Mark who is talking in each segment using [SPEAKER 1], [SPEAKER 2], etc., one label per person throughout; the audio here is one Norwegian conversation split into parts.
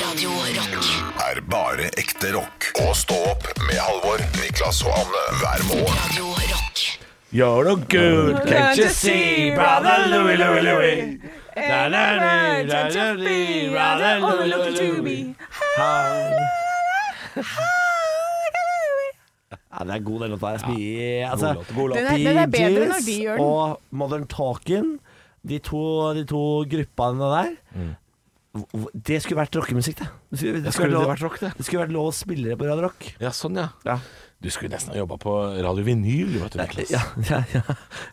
[SPEAKER 1] Radio Rock.
[SPEAKER 2] er bare ekte rock. Og stå opp med Halvor, Niklas og Anne hver morgen.
[SPEAKER 1] Radio Rock.
[SPEAKER 3] You're a good, can't you see, brother Louie, Louie, Louie. Da, da, da, da, da, da, brother Louie, Louie, Louie.
[SPEAKER 4] Ja, det er god den låta. her. Mye- altså,
[SPEAKER 3] låt.
[SPEAKER 5] Den er- den er bedre når de
[SPEAKER 4] Bee Gees
[SPEAKER 5] gjør den.
[SPEAKER 4] Og Modern Talking, de to, de to gruppene der. Hvor- Det skulle vært rockemusikk, det. Det skulle, det
[SPEAKER 3] skulle
[SPEAKER 4] lov-
[SPEAKER 3] Mm. det vært rock, det.
[SPEAKER 4] skulle vært lov å spille det på Radio Rock.
[SPEAKER 3] Ja, sånn, ja.
[SPEAKER 4] Ja.
[SPEAKER 3] Du skulle nesten ha jobba på Radio Vinyl, vet du, Niklas.
[SPEAKER 4] Ja, ja, ja.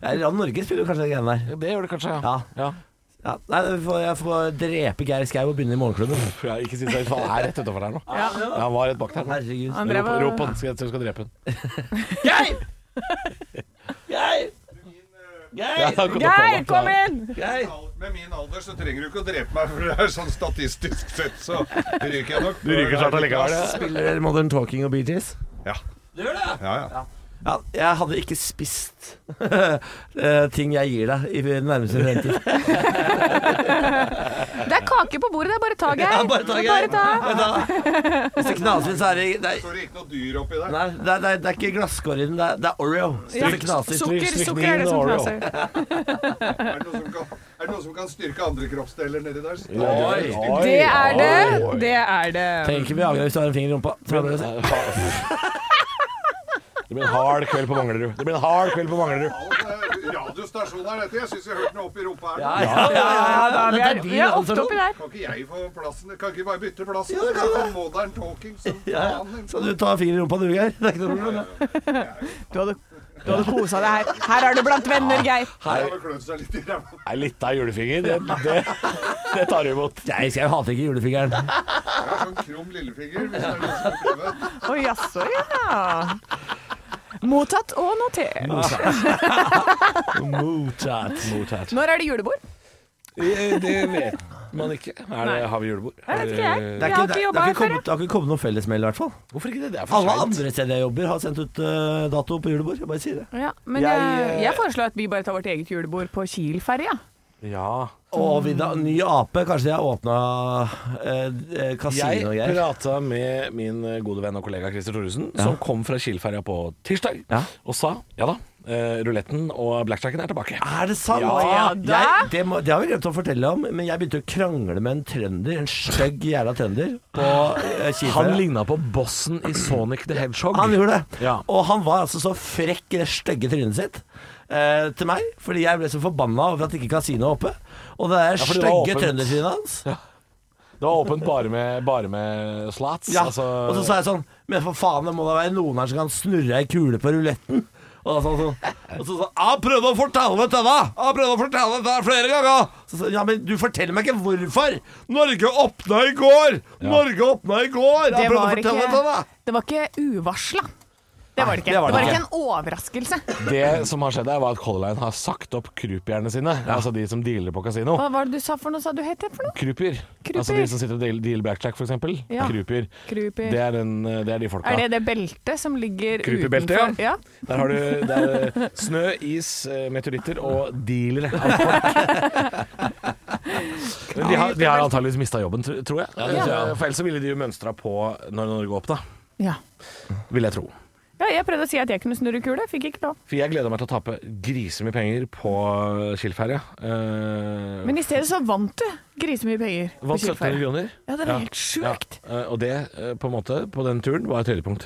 [SPEAKER 4] Radio Norge spiller jo kanskje de greiene der.
[SPEAKER 3] Ja, Det gjør du kanskje,
[SPEAKER 4] Ja.
[SPEAKER 3] ja.
[SPEAKER 4] Ja. Nei, jeg får, jeg får drepe Geir Skau og begynne i Morgenklubben.
[SPEAKER 3] For jeg ikke synes jeg, Han er rett utafor der nå.
[SPEAKER 5] Ja.
[SPEAKER 3] Ja, han var rett bak der. nå.
[SPEAKER 4] Herregud.
[SPEAKER 5] Han drev
[SPEAKER 3] Rop
[SPEAKER 5] og-
[SPEAKER 3] rop på han, skal jeg tror jeg skal drepe han.
[SPEAKER 4] Geir! Geir!
[SPEAKER 3] Ja,
[SPEAKER 4] Geir!
[SPEAKER 3] han kom opp
[SPEAKER 5] Geir,
[SPEAKER 3] på
[SPEAKER 5] kom
[SPEAKER 3] meg.
[SPEAKER 5] inn!
[SPEAKER 4] Geir!
[SPEAKER 6] Med min alder så trenger du ikke å drepe meg, for det er sånn statistisk sett, så ryker jeg nok.
[SPEAKER 3] Du ryker snart allikevel, ja.
[SPEAKER 4] Spiller dere Modern Talking og Bee Gees?
[SPEAKER 6] Ja. Ja, ja.
[SPEAKER 4] Ja, jeg hadde ikke spist eh, ting jeg gir deg i den nærmeste fremtid.
[SPEAKER 5] Det er kake på bordet, det er bare ta, Geir.
[SPEAKER 4] Ja, bare ta, Geir.
[SPEAKER 5] Bare ta.
[SPEAKER 4] Vet du hva? Hvis det knaser litt, så er det det
[SPEAKER 6] Så
[SPEAKER 4] er,
[SPEAKER 6] det er ikke noe dyr oppi der.
[SPEAKER 4] Nei, det er, det er, det er ikke glasskår i den, det er, det er Oreo. Så
[SPEAKER 5] Ja,
[SPEAKER 4] det knaser.
[SPEAKER 3] stryk-
[SPEAKER 5] Sukker,
[SPEAKER 3] strykning
[SPEAKER 5] sukker er det som
[SPEAKER 3] og Oreo.
[SPEAKER 5] knaser.
[SPEAKER 6] Er det noen som kan, er det noen som kan styrke andre kroppsdeler nedi der? Så-
[SPEAKER 3] Oi, oi,
[SPEAKER 5] Det er
[SPEAKER 3] oi.
[SPEAKER 5] det. Det er det.
[SPEAKER 4] Trenger ikke Viagra hvis du har en finger i rumpa. Så er det bra å si.
[SPEAKER 3] Det blir en hard kveld på Manglerud. Det blir en hard kveld på Manglerud.
[SPEAKER 6] Radiostasjonen er dette. Jeg syns jeg hørte noe oppi rumpa her.
[SPEAKER 4] Ja,
[SPEAKER 6] nå.
[SPEAKER 4] ja, ja, ja, ja,
[SPEAKER 5] Vi
[SPEAKER 4] dette
[SPEAKER 5] er, altså,
[SPEAKER 4] er din
[SPEAKER 5] vi er ofte
[SPEAKER 4] alder, sånn.
[SPEAKER 5] oppi der.
[SPEAKER 6] Kan ikke jeg få plassen? Kan ikke vi bare bytte plassen?
[SPEAKER 4] Jo, det kan
[SPEAKER 6] Jeg
[SPEAKER 4] vi.
[SPEAKER 6] kan modern talking som
[SPEAKER 4] Ja,
[SPEAKER 6] faen. liksom.
[SPEAKER 4] ja. Så du tar finger i rumpa du, Geir? Det er ikke noe problem. det.
[SPEAKER 5] Du hadde, du hadde kosa deg her. Her er du blant venner, Geir.
[SPEAKER 6] Her har vi klødd seg litt i ræva.
[SPEAKER 3] Ei lita julefinger, det, det, det tar du imot.
[SPEAKER 4] Nei, jeg hater ikke julefingeren.
[SPEAKER 6] Jeg har Sånn krum lillefinger, hvis det er noen som vil prøve.
[SPEAKER 5] Å jaså, ja. Mottatt og notert.
[SPEAKER 4] Mottatt.
[SPEAKER 3] Mottatt.
[SPEAKER 5] Når er det julebord?
[SPEAKER 3] Det vet man ikke. Er det, har vi julebord?
[SPEAKER 5] Jeg vet ikke, jeg.
[SPEAKER 4] Det, er ikke,
[SPEAKER 5] Jeg har
[SPEAKER 4] det,
[SPEAKER 5] ikke
[SPEAKER 4] er- det,
[SPEAKER 5] jobba
[SPEAKER 4] har
[SPEAKER 5] her
[SPEAKER 4] ikke
[SPEAKER 5] før.
[SPEAKER 4] kommet,
[SPEAKER 5] jeg.
[SPEAKER 4] det har ikke kommet noen fellesmail, i hvert fall.
[SPEAKER 3] Hvorfor ikke det? Det er for
[SPEAKER 4] Alle
[SPEAKER 3] seint.
[SPEAKER 4] andre steder jeg jobber, har sendt ut eh, dato på julebord. Jeg bare sier det.
[SPEAKER 5] Ja, men
[SPEAKER 3] Jeg,
[SPEAKER 5] jeg,
[SPEAKER 3] eh,
[SPEAKER 5] jeg foreslår at vi bare tar vårt eget julebord på Kiel-ferja.
[SPEAKER 3] Ja.
[SPEAKER 4] Og Vidda, ny ape. Kanskje de har åpna eh,
[SPEAKER 3] Jeg
[SPEAKER 4] kasino og greier.
[SPEAKER 3] prata med min eh, gode venn og kollega Christer Thoresen, som kom fra Kielferja på tirsdag,
[SPEAKER 4] Ja.
[SPEAKER 3] og sa ja da, eh, ruletten og blackjacken er tilbake.
[SPEAKER 4] Er det sant?
[SPEAKER 3] Ja,
[SPEAKER 4] jeg,
[SPEAKER 5] da.
[SPEAKER 4] det, må, det har vi glemt å fortelle om, men jeg begynte å krangle med en trønder, en stygg jævla trønder, på eh,
[SPEAKER 3] Han
[SPEAKER 4] Kielferja.
[SPEAKER 3] ligna på bossen i Sonic the Hedgehog.
[SPEAKER 4] Han gjorde det.
[SPEAKER 3] Ja.
[SPEAKER 4] Og han var altså så frekk i det stygge trynet sitt eh, til meg, fordi jeg ble så forbanna over at ikke kasinoet er oppe. Og det der
[SPEAKER 3] for det var
[SPEAKER 4] stygge
[SPEAKER 3] åpent.
[SPEAKER 4] trøndertrynet hans.
[SPEAKER 3] Det var åpent bare med, bare med slats.
[SPEAKER 4] Ja,
[SPEAKER 3] altså-
[SPEAKER 4] og så sa jeg sånn Men for faen, det må da være noen her som kan snurre ei kule på ruletten. Og da sa han sånn Og så sa han Jeg prøvde å fortelle denne! Jeg prøvde å fortelle dette flere ganger! Så sa jeg, Ja, men du forteller meg ikke hvorfor! Norge åpna i går! Norge åpna i går! Jeg
[SPEAKER 5] Det
[SPEAKER 4] prøvde å
[SPEAKER 5] var
[SPEAKER 4] fortelle dette, da!
[SPEAKER 5] ikke, det var ikke uvarsla. Det var det ikke.
[SPEAKER 4] det
[SPEAKER 5] Det
[SPEAKER 4] var
[SPEAKER 5] var
[SPEAKER 4] det
[SPEAKER 5] ikke en overraskelse.
[SPEAKER 3] Det som har skjedd her, var at Color Line har sagt opp croupierne sine. Altså de som dealer på kasino.
[SPEAKER 5] Hva var det du sa for noe? Sa du het det for noe?
[SPEAKER 3] Croupier.
[SPEAKER 5] Croupier.
[SPEAKER 3] Altså de som sitter og deal- dealer blackjack, for eksempel.
[SPEAKER 5] Ja.
[SPEAKER 3] Croupier.
[SPEAKER 5] Croupier.
[SPEAKER 3] Det er, den, eh, det er de folka.
[SPEAKER 5] Er det det beltet som ligger
[SPEAKER 3] Croupier-beltet,
[SPEAKER 5] utenfor?
[SPEAKER 3] ja. Der har du det er snø, is, eh, meteoritter og dealere. av folk. Men de har, de har antakeligvis mista jobben, tro- tror jeg. Eh, For ellers så ville de jo mønstra på når Norge åpna,
[SPEAKER 5] Ja.
[SPEAKER 3] vil jeg tro.
[SPEAKER 5] ja. Jeg prøvde å si at jeg kunne snurre kule, fikk ikke lov.
[SPEAKER 3] For jeg gleder meg til å tape grisemye penger på Kiel-ferja. Eh,
[SPEAKER 5] Men i stedet så vant du grisemye penger. på
[SPEAKER 3] Vant 1700
[SPEAKER 5] Kielferja.
[SPEAKER 3] kroner.
[SPEAKER 5] Ja, det er helt sjukt.
[SPEAKER 3] Ja, eh, Og det, eh, på en måte, på den turen, var et høydepunkt.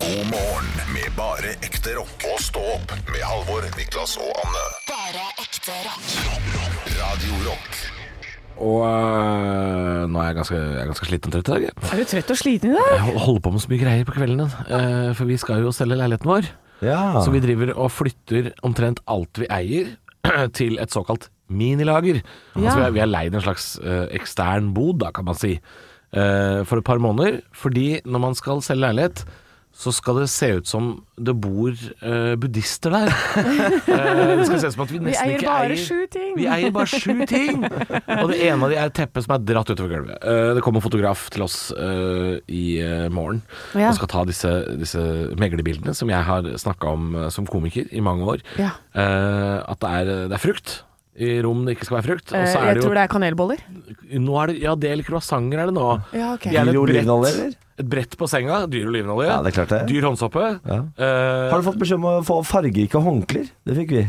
[SPEAKER 2] God morgen med bare ekte rock. Og stå opp med Halvor, Niklas og Anne.
[SPEAKER 1] Bare ekte rock.
[SPEAKER 2] Radio Rock
[SPEAKER 3] Og eh, nå er jeg ganske, jeg er ganske sliten og trøtt i dag. jeg.
[SPEAKER 5] Er du trøtt og sliten i dag?
[SPEAKER 3] Jeg holder på med så mye greier på kveldene, eh, for vi skal jo selge leiligheten vår.
[SPEAKER 5] Ah.
[SPEAKER 3] Så vi driver og flytter omtrent alt vi eier, til et såkalt minilager.
[SPEAKER 5] Ja.
[SPEAKER 3] Altså vi har- vi har leid en slags eh, ekstern bod, da, kan man si, eh, for et par måneder. Fordi når man skal selge leilighet, så skal det se ut som det bor eh, buddhister der. Eh, det skal se ut som at vi
[SPEAKER 5] Vi
[SPEAKER 3] nesten
[SPEAKER 5] eier
[SPEAKER 3] ikke
[SPEAKER 5] bare
[SPEAKER 3] eier
[SPEAKER 5] sju ting.
[SPEAKER 3] vi eier bare sju ting! Og det ene av de er et teppe som er dratt utover gulvet. Eh, det kommer fotograf til oss eh, i eh, morgen
[SPEAKER 5] Ja.
[SPEAKER 3] og skal ta disse, disse meglerbildene som jeg har snakka om eh, som komiker i mange år.
[SPEAKER 5] Ja.
[SPEAKER 3] Eh, at det er, det er frukt. i rom det ikke skal være frukt. Og
[SPEAKER 5] Eh,
[SPEAKER 3] så er
[SPEAKER 5] jeg
[SPEAKER 3] det jo
[SPEAKER 5] tror det er kanelboller.
[SPEAKER 3] Nå er det, ja, det eller croissanter er det nå.
[SPEAKER 5] Ja, ok.
[SPEAKER 3] Gjerne
[SPEAKER 4] Dyr
[SPEAKER 3] et
[SPEAKER 4] olivenolje,
[SPEAKER 3] brett,
[SPEAKER 4] eller?
[SPEAKER 3] et brett på senga. Dyr olivenolje.
[SPEAKER 4] Ja, det er klart det.
[SPEAKER 3] Dyr håndsoppe. Eh,
[SPEAKER 4] Har du fått beskjed om å få fargerike håndklær? Det fikk vi.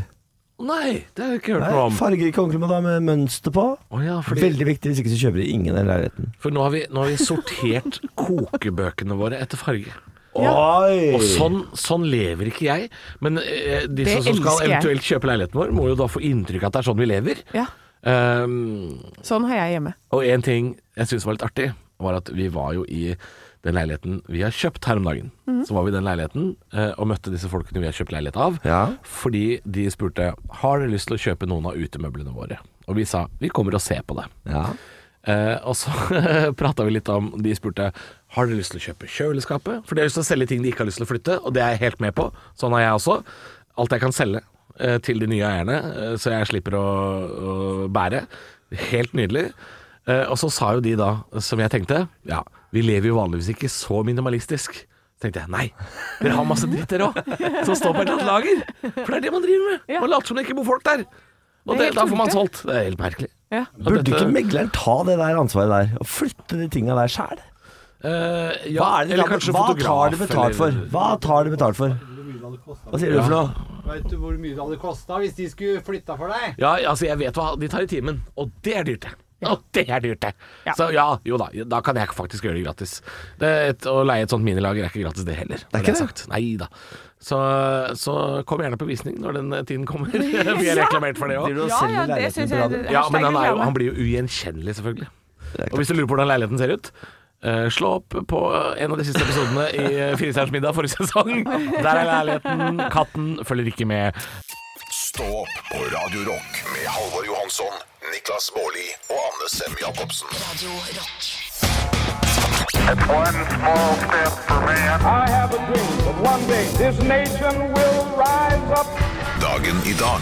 [SPEAKER 3] Nei, det har jeg ikke hørt
[SPEAKER 4] Nei,
[SPEAKER 3] noe om.
[SPEAKER 4] fargerike håndklær med, da med mønster på.
[SPEAKER 3] Å ja, fordi,
[SPEAKER 4] Veldig viktig, hvis ikke så kjøper de ingen i leiligheten.
[SPEAKER 3] for nå har, vi, nå har vi sortert kokebøkene våre etter farge.
[SPEAKER 4] Oi!
[SPEAKER 3] Og sånn, sånn lever ikke jeg. Men eh, de
[SPEAKER 5] Det
[SPEAKER 3] som, som skal
[SPEAKER 5] elsker jeg.
[SPEAKER 3] eventuelt kjøpe leiligheten vår, må jo da få inntrykk av at det er sånn vi lever.
[SPEAKER 5] Ja,
[SPEAKER 3] Ehm,
[SPEAKER 5] sånn har jeg hjemme.
[SPEAKER 3] og en ting jeg syns var litt artig, var at vi var jo i den leiligheten vi har kjøpt her om dagen. Så var vi i den leiligheten eh, og møtte disse folkene vi har kjøpt leilighet av.
[SPEAKER 4] Ja.
[SPEAKER 3] Fordi de spurte har dere lyst til å kjøpe noen av utemøblene våre. Og vi sa vi kommer og ser på det.
[SPEAKER 4] Ja.
[SPEAKER 3] Eh, og så prata vi litt om De spurte har dere lyst til å kjøpe kjøleskapet. For de har lyst til å selge ting de ikke har lyst til å flytte, og det er jeg helt med på. Sånn er jeg også. Alt jeg kan selge eh, til de nye eierne, eh, så jeg slipper å, å bære. Helt nydelig. Eh, og så sa jo de da, som jeg tenkte, ja, vi lever jo vanligvis ikke så minimalistisk. Så tenkte jeg nei, dere har masse dritt dere òg, som står på et eller annet lager. For det er det man driver med.
[SPEAKER 5] Ja.
[SPEAKER 3] Man later som det ikke bor folk der. Og
[SPEAKER 5] Det er
[SPEAKER 3] det,
[SPEAKER 5] helt
[SPEAKER 3] da får man
[SPEAKER 5] tullete.
[SPEAKER 3] solgt. Det er helt merkelig.
[SPEAKER 5] Ja.
[SPEAKER 4] Burde
[SPEAKER 3] dette-
[SPEAKER 4] ikke megleren ta det der ansvaret der, og flytte de tinga der sjæl?
[SPEAKER 3] Eh, ja,
[SPEAKER 4] Hva, er det de
[SPEAKER 3] eller
[SPEAKER 4] tar-
[SPEAKER 3] kanskje
[SPEAKER 4] hva
[SPEAKER 3] fotograf,
[SPEAKER 4] tar de betalt
[SPEAKER 3] eller-
[SPEAKER 4] for? Hva tar de betalt for? Hva sier du for noe?
[SPEAKER 7] Veit du hvor mye det hadde kosta hvis de skulle flytta for deg?
[SPEAKER 3] Ja, altså jeg vet hva de tar i timen, og det er dyrt, det. Og det er dyrt, det.
[SPEAKER 5] Ja.
[SPEAKER 3] Så ja, jo da, da kan jeg faktisk gjøre det gratis. Det, er et, å leie et sånt minilager er ikke gratis, det heller. Det
[SPEAKER 4] ikke det?
[SPEAKER 3] Nei da. Så, så kom gjerne på visning når den eh, tiden kommer. Vi er reklamert for det òg.
[SPEAKER 4] Sier du å
[SPEAKER 5] Ja,
[SPEAKER 4] selge
[SPEAKER 5] ja, det
[SPEAKER 4] leiligheten
[SPEAKER 5] synes
[SPEAKER 4] på
[SPEAKER 5] jeg-
[SPEAKER 4] radio?
[SPEAKER 3] Ja, men han, er jo,
[SPEAKER 5] reklame.
[SPEAKER 3] han blir jo ugjenkjennelig, selvfølgelig. Og hvis du lurer på hvordan leiligheten ser ut eh, slå opp på eh, en av de siste episodene i eh, Firestjerners middag forrige sesong. Der er leiligheten. Katten følger ikke med.
[SPEAKER 2] Stå opp på Radio Rock med Halvor Johansson, Niklas Baarli og Anne Sem Jacobsen.
[SPEAKER 1] Radio Rock.
[SPEAKER 8] One small step for man. I have a dream that one day this nation will rise up.
[SPEAKER 2] Dagen i dag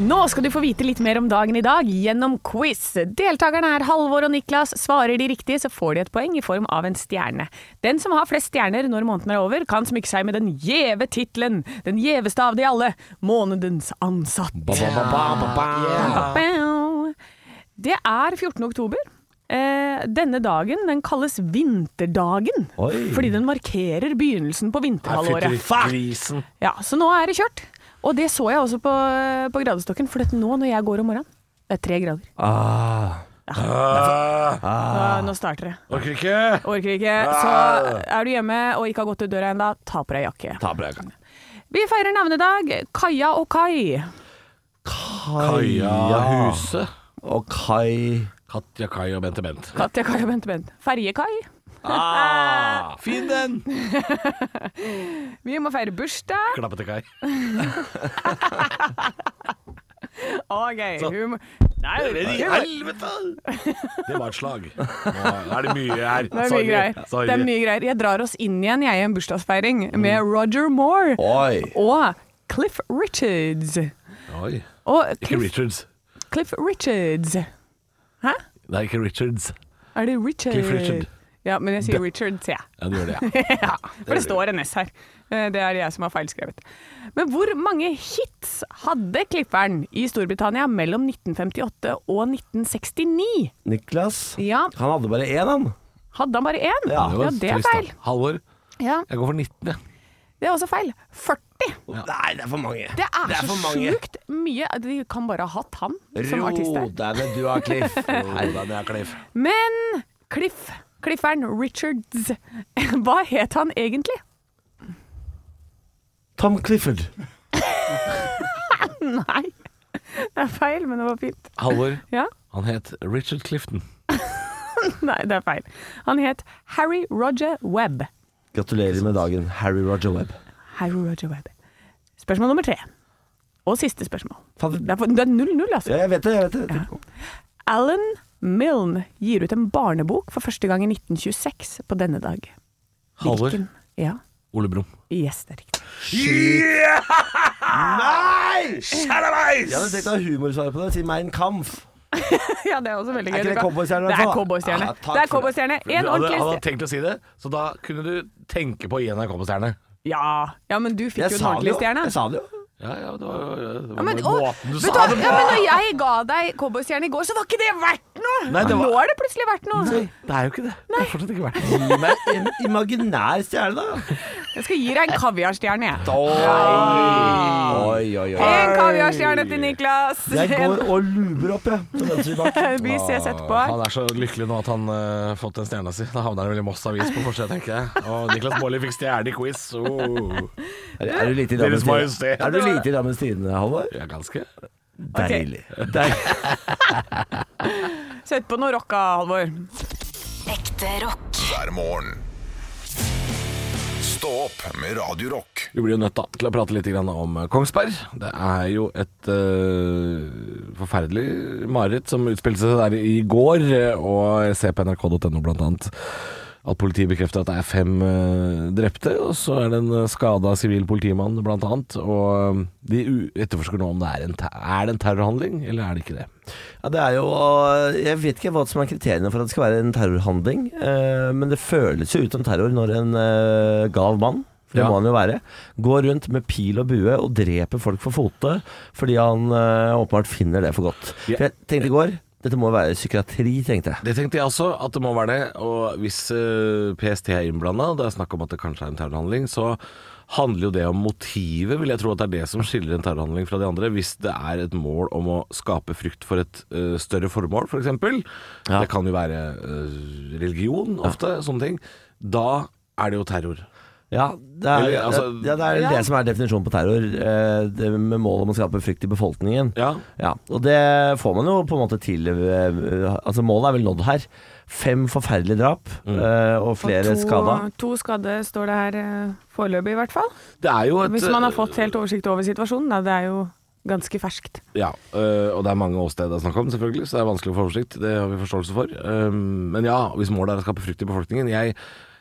[SPEAKER 5] Nå skal du få vite litt mer om dagen i dag gjennom quiz. Deltakerne er Halvor og Niklas. Svarer de riktig, så får de et poeng i form av en stjerne. Den som har flest stjerner når måneden er over, kan smykke seg med den gjeve tittelen. Den gjeveste av de alle. Månedens ansatt.
[SPEAKER 3] Ba, ba, ba, ba, ba, ba.
[SPEAKER 5] Bow. Det er 14. oktober. Eh, denne dagen den kalles vinterdagen,
[SPEAKER 4] Oi.
[SPEAKER 5] fordi den markerer begynnelsen på vinterhalvåret.
[SPEAKER 3] Grisen.
[SPEAKER 5] Ja, så nå er det kjørt. Og det så jeg også på, på gradestokken, for dette nå når jeg går om morgenen, det er tre grader. Ah, nå starter det.
[SPEAKER 3] Orker ikke.
[SPEAKER 5] Orker ikke. Så er du hjemme og ikke har gått ut døra ennå, ta på deg jakke. Vi feirer navnedag. Kaja og Kai.
[SPEAKER 4] Kaja
[SPEAKER 3] Huse.
[SPEAKER 4] og Kai
[SPEAKER 3] Katja, Kai og Bente Bent.
[SPEAKER 5] Katja, Kai og Bente Bent. Ferje-Kai.
[SPEAKER 3] Ah, Fin den!
[SPEAKER 5] Vi må feire bursdag.
[SPEAKER 3] Klappete Kai.
[SPEAKER 5] OK. Humor. Nei, humor.
[SPEAKER 3] Helvete! Det var et slag. Nå er det mye her.
[SPEAKER 5] Det er mye greier. Det er mye greier. Jeg drar oss inn igjen jeg i en bursdagsfeiring med Roger Moore
[SPEAKER 4] Oi.
[SPEAKER 5] og Cliff Richards.
[SPEAKER 3] Oi.
[SPEAKER 5] Og
[SPEAKER 3] Ikke
[SPEAKER 5] Cliff,
[SPEAKER 3] Richards.
[SPEAKER 5] Cliff Richards. Hæ?
[SPEAKER 3] Det er ikke Richards.
[SPEAKER 5] Er det Richard?
[SPEAKER 3] Cliff Richard.
[SPEAKER 5] Ja, men jeg sier Richard, sier jeg.
[SPEAKER 3] Ja, du gjør det, ja.
[SPEAKER 5] Ja, for det står en S her. Eh, Det er jeg som har feilskrevet. Men hvor mange hits hadde klipperen i Storbritannia mellom 1958 og 1969?
[SPEAKER 4] Niklas.
[SPEAKER 5] Ja,
[SPEAKER 4] Han hadde bare én, han.
[SPEAKER 5] hadde han bare én?
[SPEAKER 4] Ja,
[SPEAKER 5] ja det er
[SPEAKER 3] trist, da.
[SPEAKER 5] feil.
[SPEAKER 3] Halvor,
[SPEAKER 5] Ja,
[SPEAKER 3] jeg går for 19, jeg.
[SPEAKER 5] det er også feil. 40.
[SPEAKER 4] Nei, det er for mange.
[SPEAKER 5] Det er,
[SPEAKER 4] for
[SPEAKER 5] så
[SPEAKER 4] mange.
[SPEAKER 5] sjukt mye. De kan bare ha hatt han som
[SPEAKER 4] Ro
[SPEAKER 5] artist der.
[SPEAKER 4] deg ned, du har Cliff. Ro deg ned, Cliff.
[SPEAKER 5] Men Cliff, Clifferen Richards, hva het han egentlig?
[SPEAKER 4] Tom Clifford.
[SPEAKER 5] Nei, det er feil, men det var fint.
[SPEAKER 3] Halvor,
[SPEAKER 5] Ja,
[SPEAKER 3] han het Richard Clifton.
[SPEAKER 5] nei, det er feil. Han het Harry Roger Webb.
[SPEAKER 4] Gratulerer med dagen, Harry Roger Webb.
[SPEAKER 5] Harry Roger Webb. Spørsmål nummer tre. Og siste spørsmål.
[SPEAKER 4] Faen,
[SPEAKER 5] Det er for- det er 0-0, altså.
[SPEAKER 4] Ja, jeg vet det. jeg vet det, jeg vet det.
[SPEAKER 5] Alan Milne gir ut en barnebok for første gang i 1926 på denne dag.
[SPEAKER 3] Halvor,
[SPEAKER 5] Hvilken- Ja.
[SPEAKER 3] Ole Brumm.
[SPEAKER 5] Yes, det er riktig.
[SPEAKER 4] Jeg hadde tenkt å ha humorsvaret på det. Si Mein Kampf.
[SPEAKER 5] Ja, det er også veldig gøy.
[SPEAKER 4] Er ikke
[SPEAKER 5] Du
[SPEAKER 4] det
[SPEAKER 5] kan-
[SPEAKER 4] cowboystjerne,
[SPEAKER 5] Det er
[SPEAKER 4] altså?
[SPEAKER 5] cowboystjerne.
[SPEAKER 4] Ja, takk
[SPEAKER 5] det er
[SPEAKER 4] for det.
[SPEAKER 5] cowboystjerne.
[SPEAKER 3] Du
[SPEAKER 5] En
[SPEAKER 3] hadde,
[SPEAKER 5] ordentlig
[SPEAKER 3] hadde
[SPEAKER 5] stjerne.
[SPEAKER 3] tenkt å si det, så da kunne du tenke på INRK-stjerne.
[SPEAKER 5] Ja. ja, men du fikk
[SPEAKER 4] Jeg
[SPEAKER 5] jo en
[SPEAKER 4] sa det
[SPEAKER 5] ordentlig
[SPEAKER 4] jo.
[SPEAKER 5] stjerne.
[SPEAKER 4] Jeg sa det jo.
[SPEAKER 3] Ja, ja, det var, det var
[SPEAKER 5] Ja, men,
[SPEAKER 3] bare
[SPEAKER 5] og,
[SPEAKER 3] måten du
[SPEAKER 5] vet du
[SPEAKER 3] sa
[SPEAKER 5] hva?
[SPEAKER 3] det på!
[SPEAKER 5] ja, men når jeg ga deg cowboystjerne i går, så var ikke det verdt noe!
[SPEAKER 4] Nei, det var-
[SPEAKER 5] Nå er det plutselig verdt noe.
[SPEAKER 3] Det er jo ikke det. Det er fortsatt ikke verdt det.
[SPEAKER 4] Gi meg en imaginær stjerne, da.
[SPEAKER 5] Jeg skal gi deg en kaviarstjerne, jeg.
[SPEAKER 4] Oi, oi, oi.
[SPEAKER 5] En kaviarstjerne til Niklas.
[SPEAKER 4] Jeg går
[SPEAKER 5] En-
[SPEAKER 4] og luber opp, jeg. til venstreback.
[SPEAKER 5] Vi ses
[SPEAKER 3] Han
[SPEAKER 5] etterpå.
[SPEAKER 3] er så lykkelig nå at han eh, har fått den stjerna si. Da havner han vel i Moss Avis på forsida, tenker jeg. Og Niklas Baarli fikk stjerne i quiz. Oh.
[SPEAKER 4] Er, er du lite i
[SPEAKER 3] Deres
[SPEAKER 4] Drammens Tidende?
[SPEAKER 3] Majestet.
[SPEAKER 4] Er du lite i Drammens Tidende, Halvor?
[SPEAKER 3] Ja, ganske.
[SPEAKER 4] Deilig. Deilig.
[SPEAKER 5] Sett på noe rocka, Halvor.
[SPEAKER 1] Ekte rock.
[SPEAKER 2] hver morgen. Stå opp med Radio Rock.
[SPEAKER 3] Vi blir jo nødt da, til å prate litt grann om eh, Kongsberg. Det er jo et eh, forferdelig mareritt som utspilte seg der i går. eh, Og jeg ser på nrk.no blant annet at politiet bekrefter at det er fem eh, drepte. Og så er det en skada sivil politimann blant annet. Og eh, de u- etterforsker nå om det er en, te er det en terrorhandling, eller er det ikke det.
[SPEAKER 4] Ja, det er jo øh, Jeg vet ikke hva som er kriteriene for at det skal være en terrorhandling, øh, men det føles jo ut som terror når en øh, gav mann for det
[SPEAKER 3] Ja.
[SPEAKER 4] må han jo være. Går rundt med pil og bue og dreper folk for fote fordi han øh, åpenbart finner det for godt.
[SPEAKER 3] Ja.
[SPEAKER 4] For jeg tenkte i går dette må være psykiatri, tenkte jeg.
[SPEAKER 3] Det tenkte jeg også, at det må være det. Og hvis eh, PST er innblanda, og det er snakk om at det kanskje er en terrorhandling, så handler jo det om motivet, vil jeg tro at det er det som skiller en terrorhandling fra de andre. Hvis det er et mål om å skape frykt for et eh, større formål, f.eks. For eksempel.
[SPEAKER 4] Ja.
[SPEAKER 3] Det kan jo være eh, religion ofte, sånne ting. Da er det jo terror.
[SPEAKER 4] Ja, det er,
[SPEAKER 3] Eller, altså-
[SPEAKER 4] ja, det, er
[SPEAKER 5] Ja.
[SPEAKER 4] det som er definisjonen på terror. øh, det med mål om å skape frykt i befolkningen.
[SPEAKER 3] Ja.
[SPEAKER 4] Ja, og det får man jo på en måte til eh, Altså målet er vel nådd her. Fem forferdelige drap
[SPEAKER 3] Mm.
[SPEAKER 4] eh, og flere skada.
[SPEAKER 5] to skadde står det her eh, foreløpig, i hvert fall.
[SPEAKER 3] Det er jo et
[SPEAKER 5] Hvis man har fått helt oversikt over situasjonen, da. Det er jo ganske ferskt.
[SPEAKER 3] Ja, øh, og det er mange åsteder det er snakk om, selvfølgelig, så det er vanskelig å få oversikt. Det har vi forståelse for. Um, men ja, hvis målet er å skape frykt i befolkningen Jeg,